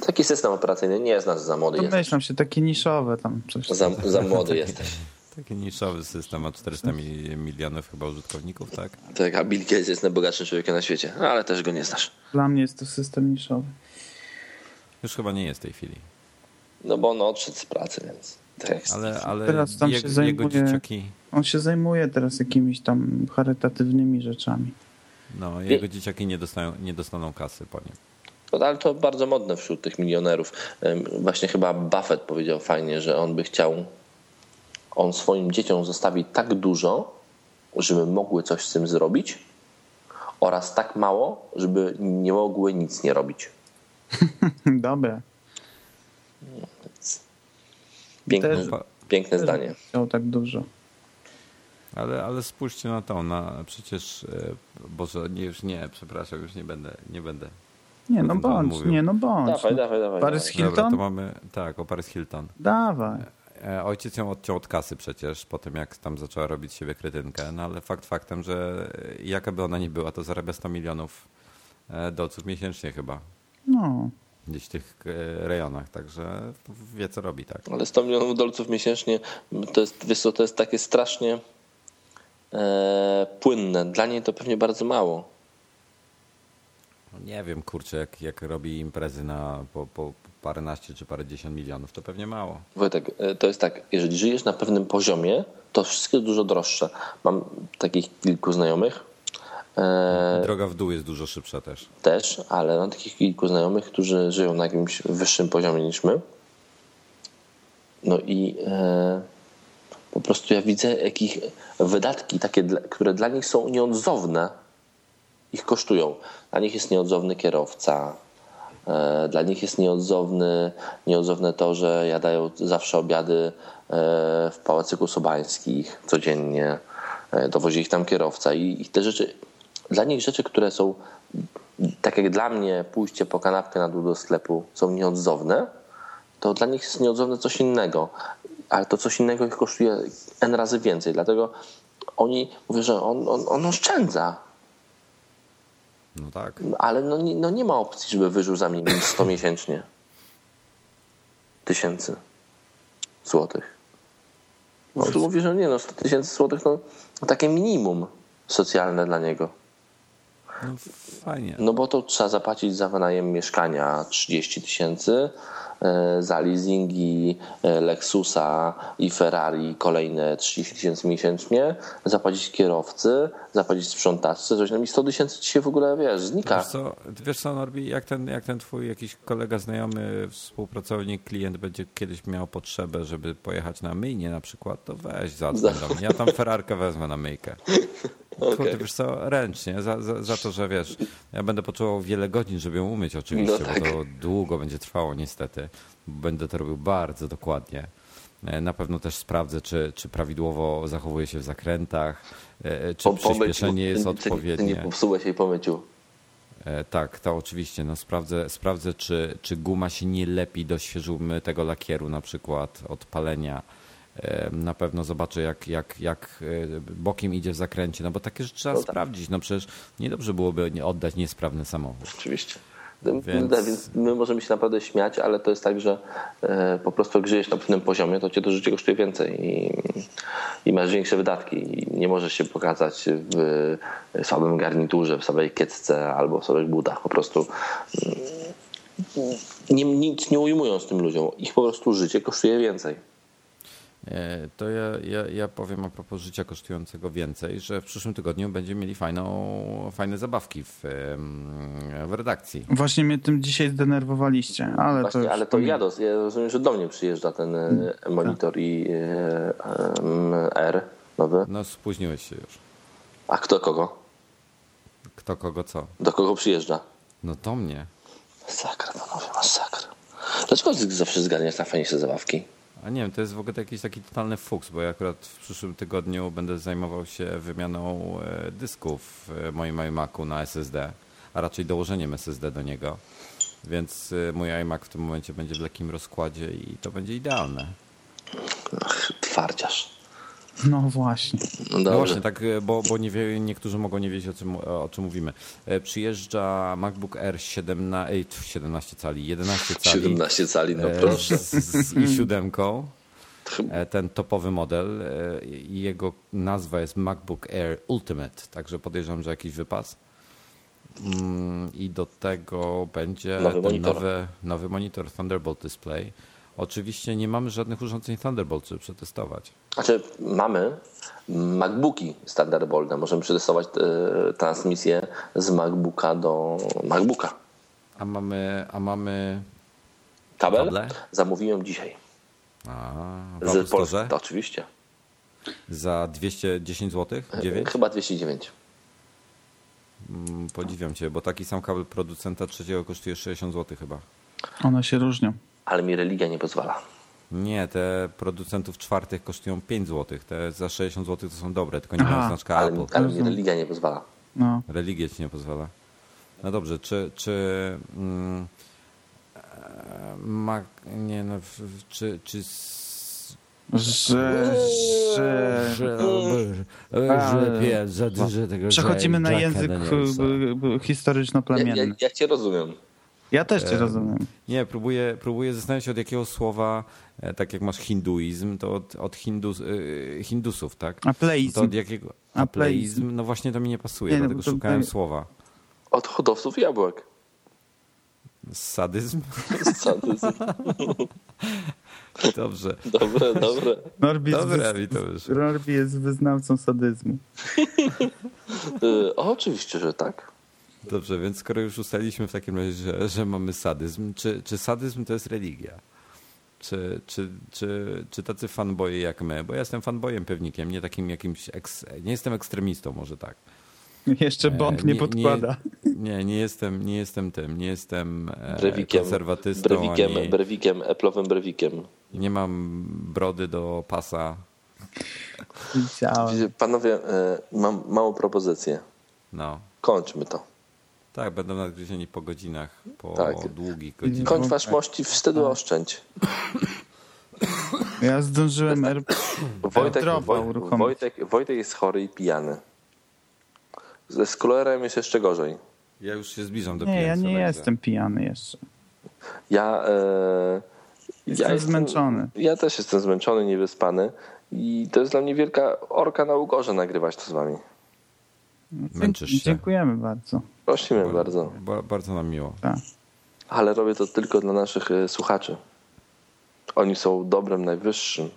[SPEAKER 2] Taki system operacyjny nie znasz za młody jesteś.
[SPEAKER 1] Domyślam się, takie niszowe tam coś.
[SPEAKER 2] Za, za młody jesteś.
[SPEAKER 3] Taki niszowy system, ma 400 mil- milionów chyba użytkowników, tak?
[SPEAKER 2] Tak, a Bill Gates jest najbogatszym człowiekiem na świecie, no, ale też go nie znasz.
[SPEAKER 1] Dla mnie jest to system niszowy.
[SPEAKER 3] Już chyba nie jest w tej chwili.
[SPEAKER 2] No bo on odszedł z pracy, więc tak jak
[SPEAKER 3] Ale, ale
[SPEAKER 1] Teraz tam
[SPEAKER 3] jego,
[SPEAKER 1] się zajmuje-
[SPEAKER 3] jego dzieciaki,
[SPEAKER 1] On się zajmuje teraz jakimiś tam charytatywnymi rzeczami.
[SPEAKER 3] no, jego dzieciaki nie, dostają, nie dostaną kasy po nim.
[SPEAKER 2] No, ale to bardzo modne wśród tych milionerów. Ym, Właśnie chyba Buffett powiedział fajnie, że on by chciał, on swoim dzieciom zostawi tak dużo, żeby mogły coś z tym zrobić, oraz tak mało, żeby nie mogły nic nie robić.
[SPEAKER 1] Dobre.
[SPEAKER 2] Piękne,
[SPEAKER 1] Też-
[SPEAKER 2] piękne zdanie.
[SPEAKER 1] Chciał tak dużo.
[SPEAKER 3] Ale, ale spójrzcie na to, na przecież, e, Boże, nie, już nie, przepraszam, już nie będę, nie będę.
[SPEAKER 1] Nie, no
[SPEAKER 3] Potem pan
[SPEAKER 1] bądź,
[SPEAKER 3] mówił.
[SPEAKER 1] nie, no bądź.
[SPEAKER 2] Dawaj,
[SPEAKER 1] no.
[SPEAKER 2] dawaj, dawaj.
[SPEAKER 1] Parys
[SPEAKER 2] dawaj.
[SPEAKER 1] Hilton?
[SPEAKER 3] Dobra, to mamy, tak, o Paris Hilton.
[SPEAKER 1] Dawaj.
[SPEAKER 3] E, Ojciec ją odciął od kasy przecież, po tym jak tam zaczęła robić siebie kretynkę, no ale fakt faktem, że e, jaka by ona nie była, to zarabia 100 milionów e, dolców miesięcznie chyba.
[SPEAKER 1] No.
[SPEAKER 3] Gdzieś w tych e, rejonach, także wie co robi, tak.
[SPEAKER 2] Ale 100 milionów dolców miesięcznie to jest, wiesz co, to jest takie strasznie e, płynne. Dla niej to pewnie bardzo mało.
[SPEAKER 3] Nie wiem, kurczę, jak, jak robi imprezy na po, po paręnaście czy parędziesiąt milionów, to pewnie mało.
[SPEAKER 2] Wojtek, e, to jest tak, jeżeli żyjesz na pewnym poziomie, to wszystko jest dużo droższe. Mam takich kilku znajomych e,
[SPEAKER 3] Droga w dół jest dużo szybsza też.
[SPEAKER 2] też, ale mam takich kilku znajomych, którzy żyją na jakimś wyższym poziomie niż my. No i e, po prostu ja widzę, jakich wydatki takie, dla- które dla nich są nieodzowne, ich kosztują. Dla nich jest nieodzowny kierowca, e, dla nich jest nieodzowny, nieodzowne to, że jadają zawsze obiady e, w Pałacyku Sobańskich codziennie, e, dowozi ich tam kierowca i, i te rzeczy, dla nich rzeczy, które są tak jak dla mnie pójście po kanapkę na dół do sklepu są nieodzowne, to dla nich jest nieodzowne coś innego, ale to coś innego ich kosztuje n razy więcej, dlatego oni mówią, że on, on, on oszczędza,
[SPEAKER 3] No tak.
[SPEAKER 2] ale no, nie- no nie ma opcji, żeby wyżył za mniej niż 100 miesięcznie. Tysięcy złotych. No tu mówi, że nie, no 100 tysięcy złotych to takie minimum socjalne dla niego.
[SPEAKER 3] No fajnie.
[SPEAKER 2] No bo to trzeba zapłacić za wynajem mieszkania 30 tysięcy, e, za leasingi e, Lexusa i Ferrari kolejne 30 tysięcy miesięcznie, zapłacić kierowcy, zapłacić sprzątaczce, coś tam i 100 tysięcy ci się w ogóle, wiesz, znika.
[SPEAKER 3] Wiesz co, wiesz co Norbi, jak ten, jak ten twój jakiś kolega, znajomy, współpracownik, klient będzie kiedyś miał potrzebę, żeby pojechać na myjnię na przykład, to weź zadzwoń do mnie. Ja tam Ferrarkę wezmę na myjkę. Kurde, wiesz co, ręcznie, za, za, za to, że wiesz, ja będę potrzebował wiele godzin, żeby ją umyć oczywiście,
[SPEAKER 2] No tak.
[SPEAKER 3] bo to długo będzie trwało niestety. Będę to robił bardzo dokładnie. E, Na pewno też sprawdzę, czy, czy prawidłowo zachowuje się w zakrętach, e, e, czy
[SPEAKER 2] Po- pomyciu.
[SPEAKER 3] przyspieszenie jest
[SPEAKER 2] Ty- ty- Ty
[SPEAKER 3] odpowiednie.
[SPEAKER 2] nie popsułeś jej pomyciu.
[SPEAKER 3] E, Tak, to oczywiście. No, sprawdzę, sprawdzę czy, czy guma się nie lepi do świeżumytego lakieru na przykład od palenia. E, Na pewno zobaczę, jak, jak, jak e, bokiem idzie w zakręcie, no bo takie rzeczy trzeba
[SPEAKER 2] No tak.
[SPEAKER 3] sprawdzić. No przecież niedobrze byłoby nie- oddać niesprawny samochód.
[SPEAKER 2] Oczywiście.
[SPEAKER 3] Więc-
[SPEAKER 2] Więc... Więc my możemy się naprawdę śmiać, ale to jest tak, że e, po prostu jak żyjesz na pewnym poziomie, to cię to życie kosztuje więcej i, i masz większe wydatki i nie możesz się pokazać w słabym garniturze, w słabej kiecce albo w słabych butach. Po prostu mm, nie, nic nie ujmując tym ludziom. Ich po prostu życie kosztuje więcej.
[SPEAKER 3] E, To ja, ja, ja powiem a propos życia kosztującego więcej, że w przyszłym tygodniu będziemy mieli fajną, fajne zabawki w, em, w redakcji.
[SPEAKER 1] Właśnie mnie tym dzisiaj zdenerwowaliście,
[SPEAKER 3] No
[SPEAKER 1] ale to
[SPEAKER 2] Właśnie,
[SPEAKER 1] już
[SPEAKER 2] ale to
[SPEAKER 1] pominę.
[SPEAKER 2] ja, dos- ja rozumiem, że do mnie przyjeżdża ten e,
[SPEAKER 3] Hmm.
[SPEAKER 2] monitor i e, em, R nowy.
[SPEAKER 3] No spóźniłeś się już.
[SPEAKER 2] A kto kogo?
[SPEAKER 3] kto kogo co.
[SPEAKER 2] Do kogo przyjeżdża?
[SPEAKER 3] No to mnie.
[SPEAKER 2] Sakra, panowie, masakra. Dlaczego ty zawsze zgarniasz na fenisze zabawki?
[SPEAKER 3] A nie wiem, to jest w ogóle jakiś taki totalny fuks, bo ja akurat w przyszłym tygodniu będę zajmował się wymianą e, dysków w moim iMacu na SSD, a raczej dołożeniem SSD do niego. Więc e, mój iMac w tym momencie będzie w lekkim rozkładzie i to będzie idealne.
[SPEAKER 2] Ach, twardziarz.
[SPEAKER 1] No właśnie.
[SPEAKER 2] No
[SPEAKER 3] No
[SPEAKER 2] dobrze.
[SPEAKER 3] właśnie, tak, e, bo, bo nie wie, niektórzy mogą nie wiedzieć, o czym, o czym mówimy. E, Przyjeżdża MacBook Air 17, ej, tf, 17 cali, 11 cali.
[SPEAKER 2] 17 cali, no
[SPEAKER 3] e,
[SPEAKER 2] proszę.
[SPEAKER 3] Z, z i siódemką.
[SPEAKER 2] Chyba-
[SPEAKER 3] E, ten topowy model e, i jego nazwa jest MacBook Air Ultimate, także podejrzewam, że jakiś wypas. Mm, I do tego będzie
[SPEAKER 2] Nowy
[SPEAKER 3] ten
[SPEAKER 2] monitor.
[SPEAKER 3] Nowy, nowy monitor Thunderbolt Display. Oczywiście nie mamy żadnych urządzeń Thunderbolt, żeby przetestować.
[SPEAKER 2] Znaczy, mamy MacBooki z Thunderboltem. Możemy przetestować e, transmisję z MacBooka do MacBooka.
[SPEAKER 3] A mamy, a mamy
[SPEAKER 2] Kabel
[SPEAKER 3] Kable?
[SPEAKER 2] zamówiłem dzisiaj.
[SPEAKER 3] a, w
[SPEAKER 2] Z
[SPEAKER 3] Apple
[SPEAKER 2] Polski. tak.
[SPEAKER 3] Store
[SPEAKER 2] To oczywiście.
[SPEAKER 3] za 210 zł, 9?
[SPEAKER 2] Chyba 209.
[SPEAKER 3] Mm, Podziwiam cię, bo taki sam kabel producenta trzeciego kosztuje 60 zł chyba.
[SPEAKER 1] One się różnią.
[SPEAKER 2] Ale mi religia nie pozwala.
[SPEAKER 3] Nie, te producentów czwartych kosztują 5 zł. Te za 60 zł to są dobre, tylko nie mają
[SPEAKER 1] Aha,
[SPEAKER 3] znaczka
[SPEAKER 2] Ale,
[SPEAKER 3] Apple.
[SPEAKER 2] ale mi religia nie pozwala.
[SPEAKER 1] No.
[SPEAKER 3] Religia ci nie pozwala. No dobrze, czy, czy mm, e, Mac, nie no, w- w- czy, czy s-
[SPEAKER 1] Że, że...
[SPEAKER 3] że, e, że, wie, za dużo tego
[SPEAKER 1] E, no, Przechodzimy na
[SPEAKER 3] Jacka
[SPEAKER 1] język
[SPEAKER 3] Danielsa.
[SPEAKER 1] y, y,
[SPEAKER 2] Ja, ja,
[SPEAKER 1] historyczno-plemienny.
[SPEAKER 2] ja cię rozumiem.
[SPEAKER 1] Ja też cię rozumiem.
[SPEAKER 3] Nie, próbuję, próbuję zastanowić się od jakiego słowa, e, tak jak masz hinduizm, to od, od hindus, e, hindusów, tak?
[SPEAKER 1] A pleizm.
[SPEAKER 3] To od jakiego?
[SPEAKER 1] A
[SPEAKER 3] Apleizm? No właśnie to mi nie pasuje,
[SPEAKER 1] Nie, no,
[SPEAKER 3] dlatego
[SPEAKER 1] to-
[SPEAKER 3] szukałem
[SPEAKER 1] to-
[SPEAKER 3] słowa.
[SPEAKER 2] Od hodowców jabłek.
[SPEAKER 3] Sadyzm?
[SPEAKER 2] Sadyzm.
[SPEAKER 3] Dobrze.
[SPEAKER 2] Dobre, dobre.
[SPEAKER 1] Norbi jest,
[SPEAKER 3] Dobra,
[SPEAKER 1] wy...
[SPEAKER 3] mi to wyszło.
[SPEAKER 1] Norbi jest wyznawcą sadyzmu.
[SPEAKER 2] Y, o, oczywiście, że tak.
[SPEAKER 3] Dobrze, więc skoro już ustaliliśmy w takim razie, że, że mamy sadyzm, czy, czy sadyzm to jest religia? Czy, czy, czy, czy tacy fanboje jak my? Bo ja jestem fanbojem pewnikiem, nie takim jakimś. Eks, nie jestem ekstremistą, może tak.
[SPEAKER 1] Jeszcze Bond nie,
[SPEAKER 3] E, nie-
[SPEAKER 1] podkłada.
[SPEAKER 3] Nie, nie jestem, nie jestem tym, nie jestem e,
[SPEAKER 2] Brewikiem.
[SPEAKER 3] konserwatystą.
[SPEAKER 2] Brewikiem,
[SPEAKER 3] ani,
[SPEAKER 2] brewikiem, eplowym brewikiem.
[SPEAKER 3] Nie mam brody do pasa.
[SPEAKER 1] Widziałem.
[SPEAKER 2] Wiecie, Panowie, y, mam małą propozycję.
[SPEAKER 3] No.
[SPEAKER 2] Kończmy to.
[SPEAKER 3] Tak, będą nadgryzieni po godzinach, po
[SPEAKER 2] Tak.
[SPEAKER 3] długich godzinach.
[SPEAKER 2] Kończ wasz mości, wstydu
[SPEAKER 1] Tak.
[SPEAKER 2] oszczędź.
[SPEAKER 1] Ja zdążyłem R...
[SPEAKER 2] Wojtek,
[SPEAKER 1] Dropa
[SPEAKER 2] Woj,
[SPEAKER 1] uruchomić.
[SPEAKER 2] Wojtek, Wojtek jest chory i pijany. Ze skulerem jest jeszcze gorzej.
[SPEAKER 3] Ja już się zbliżam do
[SPEAKER 1] Nie, ja
[SPEAKER 3] pijańca,
[SPEAKER 1] nie
[SPEAKER 3] także.
[SPEAKER 1] jestem pijany jeszcze.
[SPEAKER 2] Ja, e,
[SPEAKER 1] Jestem zmęczony.
[SPEAKER 2] Ja też jestem zmęczony, niewyspany. I to jest dla mnie wielka orka na ugorze nagrywać to z wami.
[SPEAKER 3] Męczysz się.
[SPEAKER 1] Dziękujemy bardzo.
[SPEAKER 2] Prosimy bardzo.
[SPEAKER 3] Ba- bardzo nam miło.
[SPEAKER 1] Tak.
[SPEAKER 2] Ale robię to tylko dla naszych e, słuchaczy. Oni są dobrem najwyższym.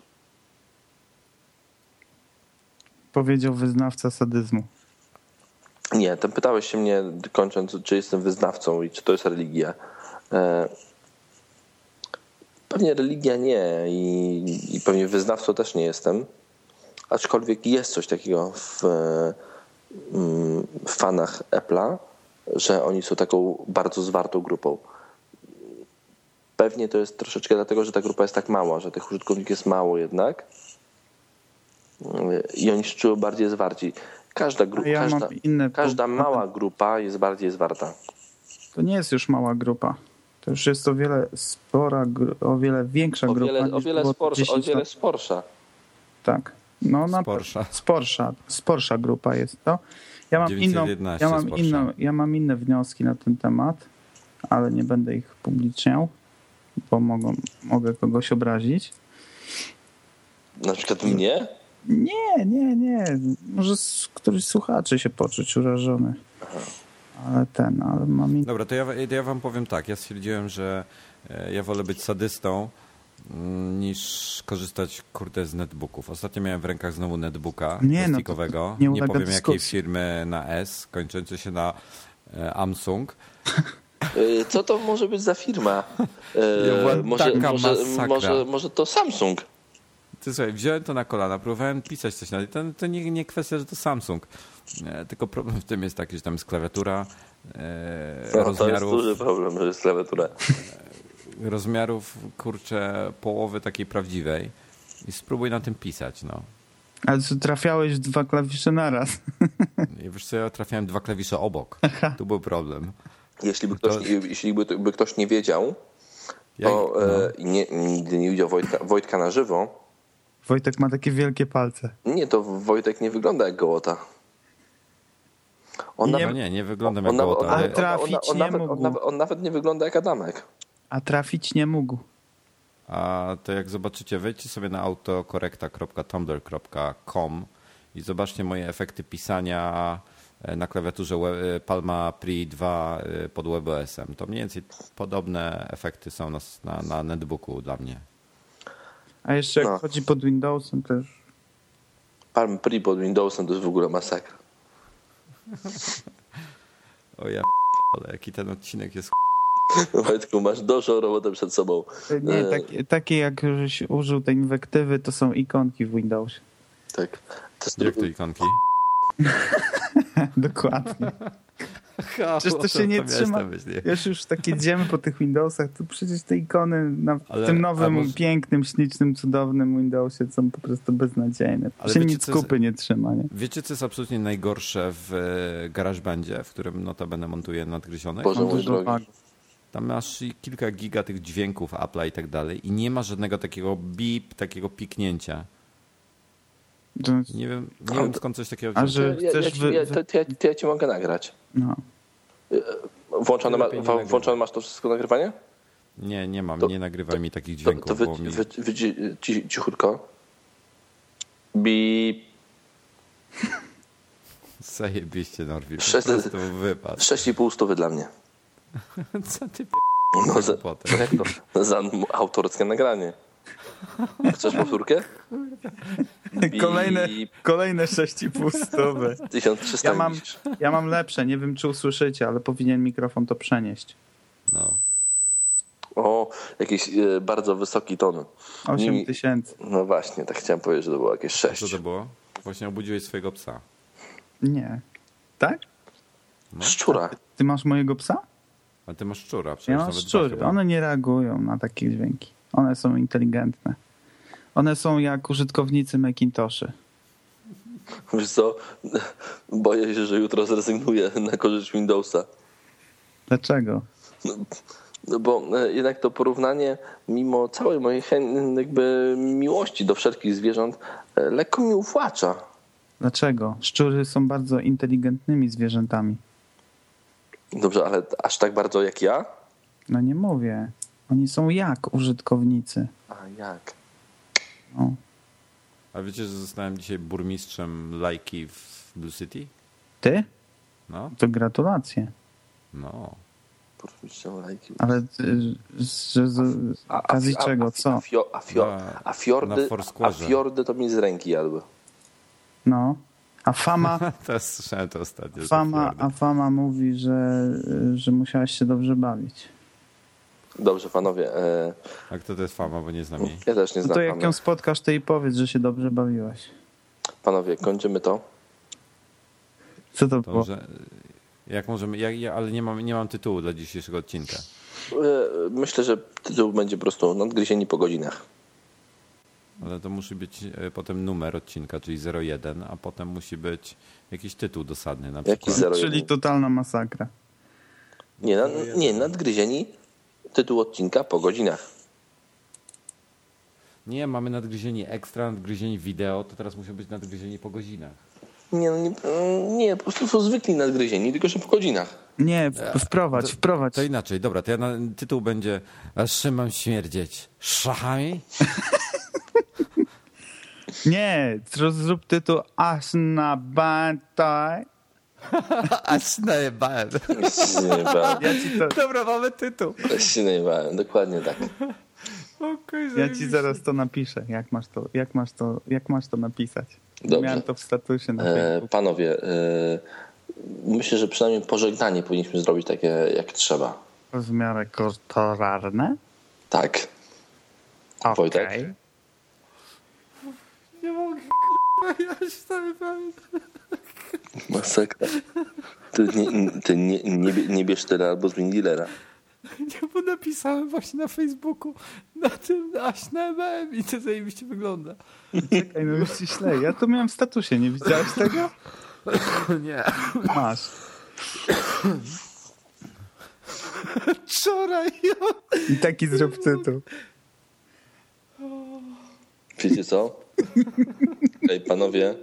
[SPEAKER 1] Powiedział wyznawca sadyzmu.
[SPEAKER 2] Nie, tam pytałeś się mnie, kończąc, czy jestem wyznawcą i czy to jest religia. E, Pewnie religia nie i, i pewnie wyznawcą też nie jestem. Aczkolwiek jest coś takiego w, e, mm, w fanach Apple'a, że oni są taką bardzo zwartą grupą. Pewnie to jest troszeczkę dlatego, że ta grupa jest tak mała, że tych użytkowników jest mało jednak. E, I oni się czują bardziej zwarci. Każda grupa,
[SPEAKER 1] A ja
[SPEAKER 2] każda,
[SPEAKER 1] mam inne
[SPEAKER 2] każda
[SPEAKER 1] po-
[SPEAKER 2] mała grupa jest bardziej zwarta.
[SPEAKER 1] To nie jest już mała grupa. To już jest o wiele spora, gru- o wiele większa
[SPEAKER 2] O
[SPEAKER 1] grupa.
[SPEAKER 2] wiele, o
[SPEAKER 1] niż
[SPEAKER 2] wiele,
[SPEAKER 1] było
[SPEAKER 2] sporsz, o
[SPEAKER 1] 10
[SPEAKER 2] wiele
[SPEAKER 1] lat.
[SPEAKER 2] sporsza.
[SPEAKER 1] Tak. No, na
[SPEAKER 3] Sporsza.
[SPEAKER 1] Sporsza, sporsza grupa jest to. Ja mam, inną,
[SPEAKER 3] 911
[SPEAKER 1] ja, mam
[SPEAKER 3] sporsza.
[SPEAKER 1] inną, ja mam inne wnioski na ten temat, ale nie będę ich publiczniał, bo mogą, mogę kogoś obrazić.
[SPEAKER 2] Na przykład mnie?
[SPEAKER 1] Nie, nie, nie. Może s- któryś z słuchaczy się poczuć urażony. Ale ten, ale mam inne.
[SPEAKER 3] Dobra, to ja, to ja wam powiem tak. Ja stwierdziłem, że e, ja wolę być sadystą mm, niż korzystać, kurde, z netbooków. Ostatnio miałem w rękach znowu netbooka
[SPEAKER 1] Nie, no to
[SPEAKER 3] plastikowego.
[SPEAKER 1] nie
[SPEAKER 3] nie,
[SPEAKER 1] ulega
[SPEAKER 3] powiem jakiej
[SPEAKER 1] dyskusji.
[SPEAKER 3] firmy na S, kończący się na e, Amsung.
[SPEAKER 2] Y, Co to może być za firma? Y,
[SPEAKER 3] Ja była
[SPEAKER 2] może,
[SPEAKER 3] taka
[SPEAKER 2] może,
[SPEAKER 3] masakra.
[SPEAKER 2] może, może to Samsung?
[SPEAKER 3] Ty słuchaj, wziąłem to na kolana, próbowałem pisać coś na to. To nie, nie kwestia, że to Samsung. E, Tylko problem w tym jest taki, że tam jest klawiatura e,
[SPEAKER 2] No, to jest
[SPEAKER 3] rozmiarów,
[SPEAKER 2] duży problem, że jest klawiatura.
[SPEAKER 3] rozmiarów, kurczę, połowy takiej prawdziwej. I spróbuj na tym pisać, no.
[SPEAKER 1] Ale co, trafiałeś w dwa klawisze naraz.
[SPEAKER 3] I wiesz co, ja trafiałem dwa klawisze obok. Tu był problem.
[SPEAKER 2] Jeśli by ktoś,
[SPEAKER 3] To-
[SPEAKER 2] nie- jeśli by, by ktoś nie wiedział,
[SPEAKER 3] Ja,
[SPEAKER 2] to
[SPEAKER 3] no.
[SPEAKER 2] e, nie, nigdy nie widział Wojtka, Wojtka na żywo.
[SPEAKER 1] Wojtek ma takie wielkie palce.
[SPEAKER 2] Nie, to Wojtek nie wygląda jak gołota. On
[SPEAKER 1] Nie,
[SPEAKER 3] No
[SPEAKER 2] nawet-
[SPEAKER 3] nie, nie wyglądam jak
[SPEAKER 2] on nawet-
[SPEAKER 3] gołota,
[SPEAKER 2] on
[SPEAKER 1] ale
[SPEAKER 3] ale
[SPEAKER 2] nawet-
[SPEAKER 1] trafić
[SPEAKER 2] on
[SPEAKER 1] nie
[SPEAKER 2] nawet- on
[SPEAKER 1] mógł.
[SPEAKER 2] nawet- On nawet nie wygląda jak Adamek.
[SPEAKER 1] A trafić nie mógł.
[SPEAKER 3] A to jak zobaczycie, wejdźcie sobie na autokorekta.tumblr.com i zobaczcie moje efekty pisania e, na klawiaturze We- e, Palma Pri 2 e, pod WebOS-em. To mniej więcej podobne efekty są na, s- na, na netbooku dla mnie.
[SPEAKER 1] A jeszcze jak
[SPEAKER 2] No.
[SPEAKER 1] chodzi pod Windowsem też.
[SPEAKER 2] Palm Pre pod Windowsem to jest w ogóle masakra.
[SPEAKER 3] O ja ale jaki ten odcinek jest
[SPEAKER 2] Wojtku, masz dużą robotę przed sobą.
[SPEAKER 1] Nie, tak-
[SPEAKER 2] E,
[SPEAKER 1] takie, takie jak żeś użył tej inwektywy, to są ikonki w Windowsie.
[SPEAKER 2] tak. To jest
[SPEAKER 3] jak to ikonki?
[SPEAKER 1] Dokładnie. Przecież to się nie trzyma. Wiesz, już takie dziemy po tych Windowsach, to przecież te ikony na
[SPEAKER 3] Ale-
[SPEAKER 1] tym
[SPEAKER 3] a
[SPEAKER 1] nowym,
[SPEAKER 3] może-
[SPEAKER 1] pięknym, ślicznym, cudownym Windowsie są po prostu beznadziejne.
[SPEAKER 3] Ale
[SPEAKER 1] się
[SPEAKER 3] wiecie,
[SPEAKER 1] nic
[SPEAKER 3] co jest-
[SPEAKER 1] kupy nie trzyma, nie?
[SPEAKER 3] Wiecie, co jest absolutnie najgorsze w e, GarageBandzie, w którym notabene montuję nadgryzionych?
[SPEAKER 2] Boże
[SPEAKER 1] Mam
[SPEAKER 2] mój
[SPEAKER 1] dużo
[SPEAKER 2] drogi.
[SPEAKER 1] wagów.
[SPEAKER 3] Tam masz i kilka giga tych dźwięków Apple'a i tak dalej i nie ma żadnego takiego beep, takiego piknięcia.
[SPEAKER 1] Że-
[SPEAKER 3] Nie wiem,
[SPEAKER 2] A
[SPEAKER 3] nie wiem
[SPEAKER 2] to-
[SPEAKER 3] skąd coś takiego
[SPEAKER 1] a
[SPEAKER 3] wziąć.
[SPEAKER 1] że-
[SPEAKER 2] Ja, ja,
[SPEAKER 1] Chcesz
[SPEAKER 2] ci-
[SPEAKER 1] wy-
[SPEAKER 2] ja, to, to, ja, to ja ci mogę nagrać.
[SPEAKER 1] No.
[SPEAKER 2] Włączone, ma,
[SPEAKER 3] Lepiej nie
[SPEAKER 2] wa-
[SPEAKER 3] nagrywać.
[SPEAKER 2] włączone masz to wszystko nagrywanie?
[SPEAKER 3] Nie, nie mam,
[SPEAKER 2] to-
[SPEAKER 3] nie nagrywaj mi takich
[SPEAKER 2] To,
[SPEAKER 3] dźwięków,
[SPEAKER 2] to wy,
[SPEAKER 3] bo mi...
[SPEAKER 2] wy, wy, ci- cichutko. Bip.
[SPEAKER 3] Zajebiście, Norwid, po
[SPEAKER 2] Przecież-
[SPEAKER 3] prostu wypadł.
[SPEAKER 2] 6,5 stówy dla mnie.
[SPEAKER 3] Co ty p...
[SPEAKER 2] No, za,
[SPEAKER 3] Potem.
[SPEAKER 2] jak to? No, za autorskie nagranie. Chcesz powtórkę? Bip.
[SPEAKER 1] Kolejne, kolejne 6,5 stówy.
[SPEAKER 2] 1300
[SPEAKER 1] Ja mam,
[SPEAKER 2] widzisz.
[SPEAKER 1] ja mam lepsze, nie wiem czy usłyszycie, ale powinien mikrofon to przenieść.
[SPEAKER 3] No.
[SPEAKER 2] O, jakiś e, bardzo wysoki ton.
[SPEAKER 1] 8
[SPEAKER 2] Nie-
[SPEAKER 1] tysięcy.
[SPEAKER 2] No właśnie, tak chciałem powiedzieć, że to było jakieś
[SPEAKER 3] Co
[SPEAKER 2] 6.
[SPEAKER 3] to było? Właśnie obudziłeś swojego psa.
[SPEAKER 1] Nie. Tak?
[SPEAKER 3] no.
[SPEAKER 2] Szczura.
[SPEAKER 1] Ty masz mojego psa?
[SPEAKER 3] A ty masz szczura, przecież
[SPEAKER 1] Ja mam
[SPEAKER 3] nawet dwa
[SPEAKER 1] szczury.
[SPEAKER 3] chyba.
[SPEAKER 1] One nie reagują na takie dźwięki. One są inteligentne. One są jak użytkownicy Macintoszy.
[SPEAKER 2] Wiesz co, boję się, że jutro zrezygnuję na korzyść Windowsa.
[SPEAKER 1] Dlaczego?
[SPEAKER 2] No bo e, jednak to porównanie, mimo całej mojej chę- jakby miłości do wszelkich zwierząt, e, lekko mi uwłacza.
[SPEAKER 1] Dlaczego? Szczury są bardzo inteligentnymi zwierzętami.
[SPEAKER 2] Dobrze, ale aż tak bardzo jak ja?
[SPEAKER 1] No nie mówię. Oni są jak użytkownicy.
[SPEAKER 2] A jak?
[SPEAKER 1] No.
[SPEAKER 3] A wiecie, że zostałem dzisiaj burmistrzem lajki w Blue City?
[SPEAKER 1] Ty?
[SPEAKER 3] No,
[SPEAKER 1] To gratulacje.
[SPEAKER 3] no.
[SPEAKER 2] Burmistrz lajki.
[SPEAKER 1] Ale y, z, z, z
[SPEAKER 2] A- a-
[SPEAKER 1] okazji
[SPEAKER 2] a-
[SPEAKER 1] czego?
[SPEAKER 2] A,
[SPEAKER 1] Co?
[SPEAKER 2] fio, a, fio,
[SPEAKER 3] Na-
[SPEAKER 2] a,
[SPEAKER 3] na
[SPEAKER 2] fiordy, a
[SPEAKER 3] Foursquare'ze.
[SPEAKER 2] fiordy to mi z ręki jadły.
[SPEAKER 1] No. A fama,
[SPEAKER 3] Teraz słyszałem to ostatnio. że
[SPEAKER 1] fama,
[SPEAKER 3] Florida.
[SPEAKER 1] a fama mówi, że, y, że musiałeś się dobrze bawić.
[SPEAKER 2] Dobrze, panowie, e,
[SPEAKER 3] A kto to jest fama, bo nie znam jej.
[SPEAKER 2] ja też nie
[SPEAKER 1] No
[SPEAKER 2] znam
[SPEAKER 1] to jak
[SPEAKER 2] pana.
[SPEAKER 1] ją spotkasz, to jej powiedz, że się dobrze bawiłaś.
[SPEAKER 2] Panowie, kończymy to.
[SPEAKER 1] Co to było?
[SPEAKER 3] Dobrze. Jak możemy, jak, ja, ale nie mam, nie mam tytułu dla dzisiejszego odcinka.
[SPEAKER 2] E, Myślę, że tytuł będzie po prostu nadgryzieni po godzinach.
[SPEAKER 3] Ale to musi być e, potem numer odcinka, czyli 01, a potem musi być jakiś tytuł dosadny na
[SPEAKER 2] Jaki
[SPEAKER 3] przykład.
[SPEAKER 2] zero
[SPEAKER 1] Czyli
[SPEAKER 2] jeden?
[SPEAKER 1] totalna masakra.
[SPEAKER 2] Nie, na, nie, nadgryzieni tytuł odcinka po godzinach.
[SPEAKER 3] Nie, mamy nadgryzienie ekstra, nadgryzienie wideo, to teraz musi być nadgryzienie po godzinach.
[SPEAKER 2] Nie, no nie, mm, nie, po prostu są zwykli nadgryzieni, tylko że po godzinach.
[SPEAKER 1] Nie, w- wprowadź, wprowadź.
[SPEAKER 3] To inaczej, dobra, to ja na, tytuł będzie A Szymam śmierdzieć szachami?
[SPEAKER 1] Nie, zro- zrób tytuł Asnabantaj.
[SPEAKER 3] Aż najebałem.
[SPEAKER 2] Ja się najebałem,
[SPEAKER 1] Ja ci to,
[SPEAKER 3] Dobra, mamy tytuł.
[SPEAKER 2] ja się najebałem, dokładnie tak.
[SPEAKER 1] ja ci zaraz to napiszę, jak masz to, jak masz to, jak masz to napisać.
[SPEAKER 2] Dobrze.
[SPEAKER 1] Miałem to w statusie na
[SPEAKER 2] E,
[SPEAKER 1] Facebooku.
[SPEAKER 2] panowie, e, myślę, że przynajmniej pożegnanie powinniśmy zrobić takie jak trzeba.
[SPEAKER 1] W miarę kulturalne.
[SPEAKER 2] Tak. Wojtek?
[SPEAKER 1] Okej.
[SPEAKER 3] Nie mogę, ja się najebałem.
[SPEAKER 2] Masakra. Ty nie, ty nie, nie, bie- nie bierz tyle albo zmień dealera.
[SPEAKER 5] Ja bo napisałem właśnie na Facebooku na tym aś na MM i to zajebiście wygląda.
[SPEAKER 1] Czekaj, no już ci ślej. Ja to miałem w statusie, nie widziałeś tego?
[SPEAKER 5] Nie.
[SPEAKER 1] Masz.
[SPEAKER 5] Wczoraj
[SPEAKER 1] I taki zrób tytuł.
[SPEAKER 2] Wiecie co? Ej, panowie,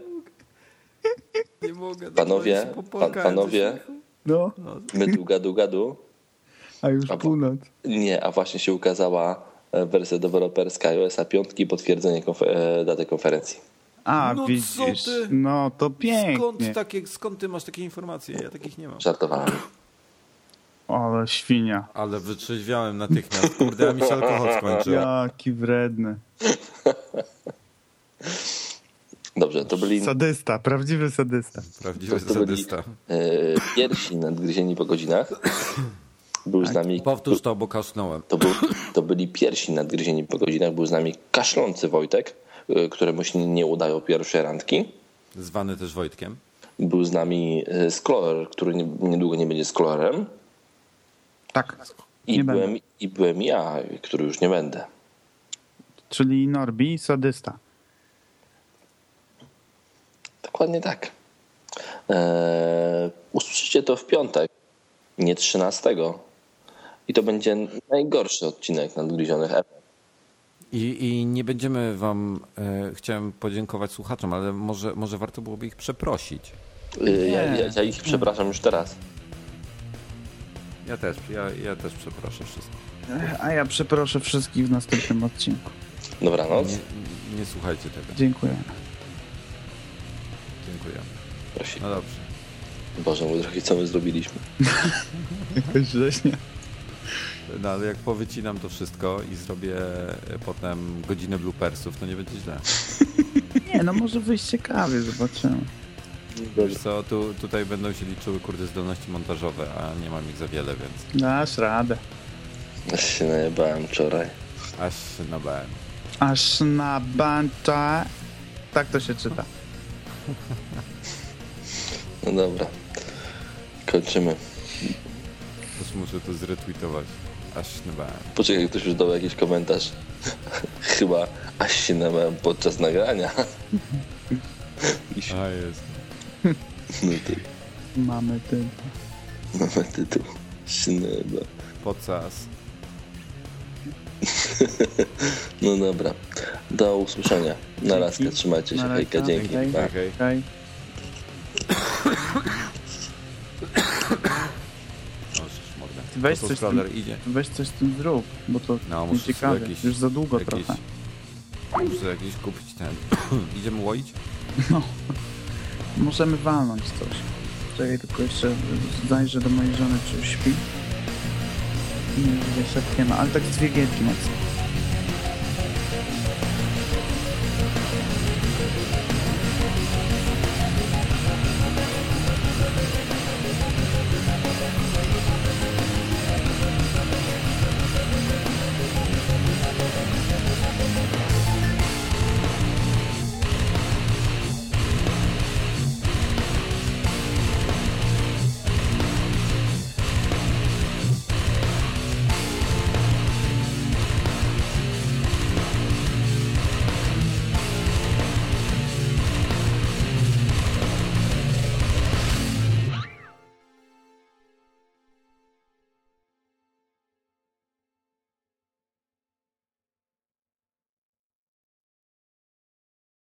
[SPEAKER 5] nie mogę.
[SPEAKER 2] Panowie,
[SPEAKER 5] Się popłakałem
[SPEAKER 2] pan- panowie.
[SPEAKER 5] ze śmiechu.
[SPEAKER 1] No,
[SPEAKER 2] my tu gadu gadu.
[SPEAKER 1] a już
[SPEAKER 2] Albo-
[SPEAKER 1] północ.
[SPEAKER 2] Nie, a właśnie się ukazała e, wersja deweloperska iOS-a 5, potwierdzenie konfe- e, daty konferencji.
[SPEAKER 1] A,
[SPEAKER 5] No co
[SPEAKER 1] widzisz.
[SPEAKER 5] ty?
[SPEAKER 1] No, to pięknie.
[SPEAKER 5] Skąd, takie, skąd ty masz takie informacje? Ja takich nie mam.
[SPEAKER 2] Żartowałem.
[SPEAKER 1] Ale świnia.
[SPEAKER 3] Ale wytrzeźwiałem natychmiast. Kurde, a mi się alkohol skończył.
[SPEAKER 1] Jaki wredny.
[SPEAKER 2] Dobrze, to byli
[SPEAKER 1] Sadysta, prawdziwy sadysta.
[SPEAKER 3] Prawdziwy
[SPEAKER 2] to byli-
[SPEAKER 3] sadysta.
[SPEAKER 2] e, pierwsi nadgryzieni po godzinach. Był
[SPEAKER 3] Tak.
[SPEAKER 2] z nami...
[SPEAKER 3] Powtórz to, bo kasznąłem.
[SPEAKER 2] To, był, to byli pierwsi nadgryzieni po godzinach. Był z nami kaszlący Wojtek, y, któremu się nie udają pierwsze randki.
[SPEAKER 3] Zwany też Wojtkiem.
[SPEAKER 2] Był z nami y, Sklorer, który nie- niedługo nie będzie Sklorerem.
[SPEAKER 1] Tak.
[SPEAKER 2] I,
[SPEAKER 1] Nie będę.
[SPEAKER 2] byłem, I byłem ja, który już nie będę.
[SPEAKER 1] Czyli Norbi, sadysta.
[SPEAKER 2] Dokładnie tak. Eee, usłyszycie to w piątek, nie 13. I to będzie najgorszy odcinek nadgryzionych ep.
[SPEAKER 3] I, I nie będziemy wam, e, chciałem podziękować słuchaczom, ale może, może warto byłoby ich przeprosić.
[SPEAKER 2] Y, Ja, ja, ja ich przepraszam już teraz.
[SPEAKER 3] Ja też, ja, ja też przeproszę wszystkich.
[SPEAKER 1] A ja przeproszę wszystkich w następnym odcinku.
[SPEAKER 2] Dobranoc.
[SPEAKER 3] Nie, nie słuchajcie tego.
[SPEAKER 1] Dziękuję.
[SPEAKER 3] Dziękuję.
[SPEAKER 2] Prosi.
[SPEAKER 3] No dobrze.
[SPEAKER 2] Boże mój drogi, co my zrobiliśmy?
[SPEAKER 1] Jakoś września.
[SPEAKER 3] No ale jak powycinam to wszystko i zrobię e, potem godzinę bloopersów, to nie będzie źle.
[SPEAKER 1] Nie, no może wyjść ciekawie, zobaczymy.
[SPEAKER 3] Wiesz co, tu, tutaj będą się liczyły kurde zdolności montażowe, a nie mam ich za wiele, więc
[SPEAKER 1] Dasz radę.
[SPEAKER 2] Ja się najebałem wczoraj.
[SPEAKER 3] aż się nabałem.
[SPEAKER 1] Aż na bancza. Tak to się czyta.
[SPEAKER 2] No dobra. Kończymy.
[SPEAKER 3] Też muszę to zretweetować. Aż nabałem.
[SPEAKER 2] Poczekaj, ktoś już dał jakiś komentarz. Chyba aż się namałem podczas nagrania.
[SPEAKER 3] A jest.
[SPEAKER 2] No to
[SPEAKER 1] Mamy ten.
[SPEAKER 2] mamy tytuł. Szyneba.
[SPEAKER 3] Pocas.
[SPEAKER 2] No dobra. Do usłyszenia. Na razkę,
[SPEAKER 1] Dzięki.
[SPEAKER 2] trzymajcie się.
[SPEAKER 1] Na
[SPEAKER 2] Hejka,
[SPEAKER 1] razka.
[SPEAKER 2] dzięki.
[SPEAKER 1] Hej.
[SPEAKER 2] Pa.
[SPEAKER 3] Okej.
[SPEAKER 1] Okej.
[SPEAKER 3] Możesz, mordę.
[SPEAKER 1] Weź
[SPEAKER 3] To
[SPEAKER 1] coś
[SPEAKER 3] tu scroller idzie.
[SPEAKER 1] Weź coś z tym zrób, bo to
[SPEAKER 3] No,
[SPEAKER 1] nie
[SPEAKER 3] muszę sobie
[SPEAKER 1] ciekawe.
[SPEAKER 3] jakiś-
[SPEAKER 1] Już za długo
[SPEAKER 3] jakiś,
[SPEAKER 1] trochę.
[SPEAKER 3] Muszę jakiś kupić ten. Idziemy łoić?
[SPEAKER 1] Możemy walnąć coś. Czekaj, tylko jeszcze zajrzę do mojej żony, czy już śpi. Nie, że szepniemy, ale tak z dwie gierki mocno.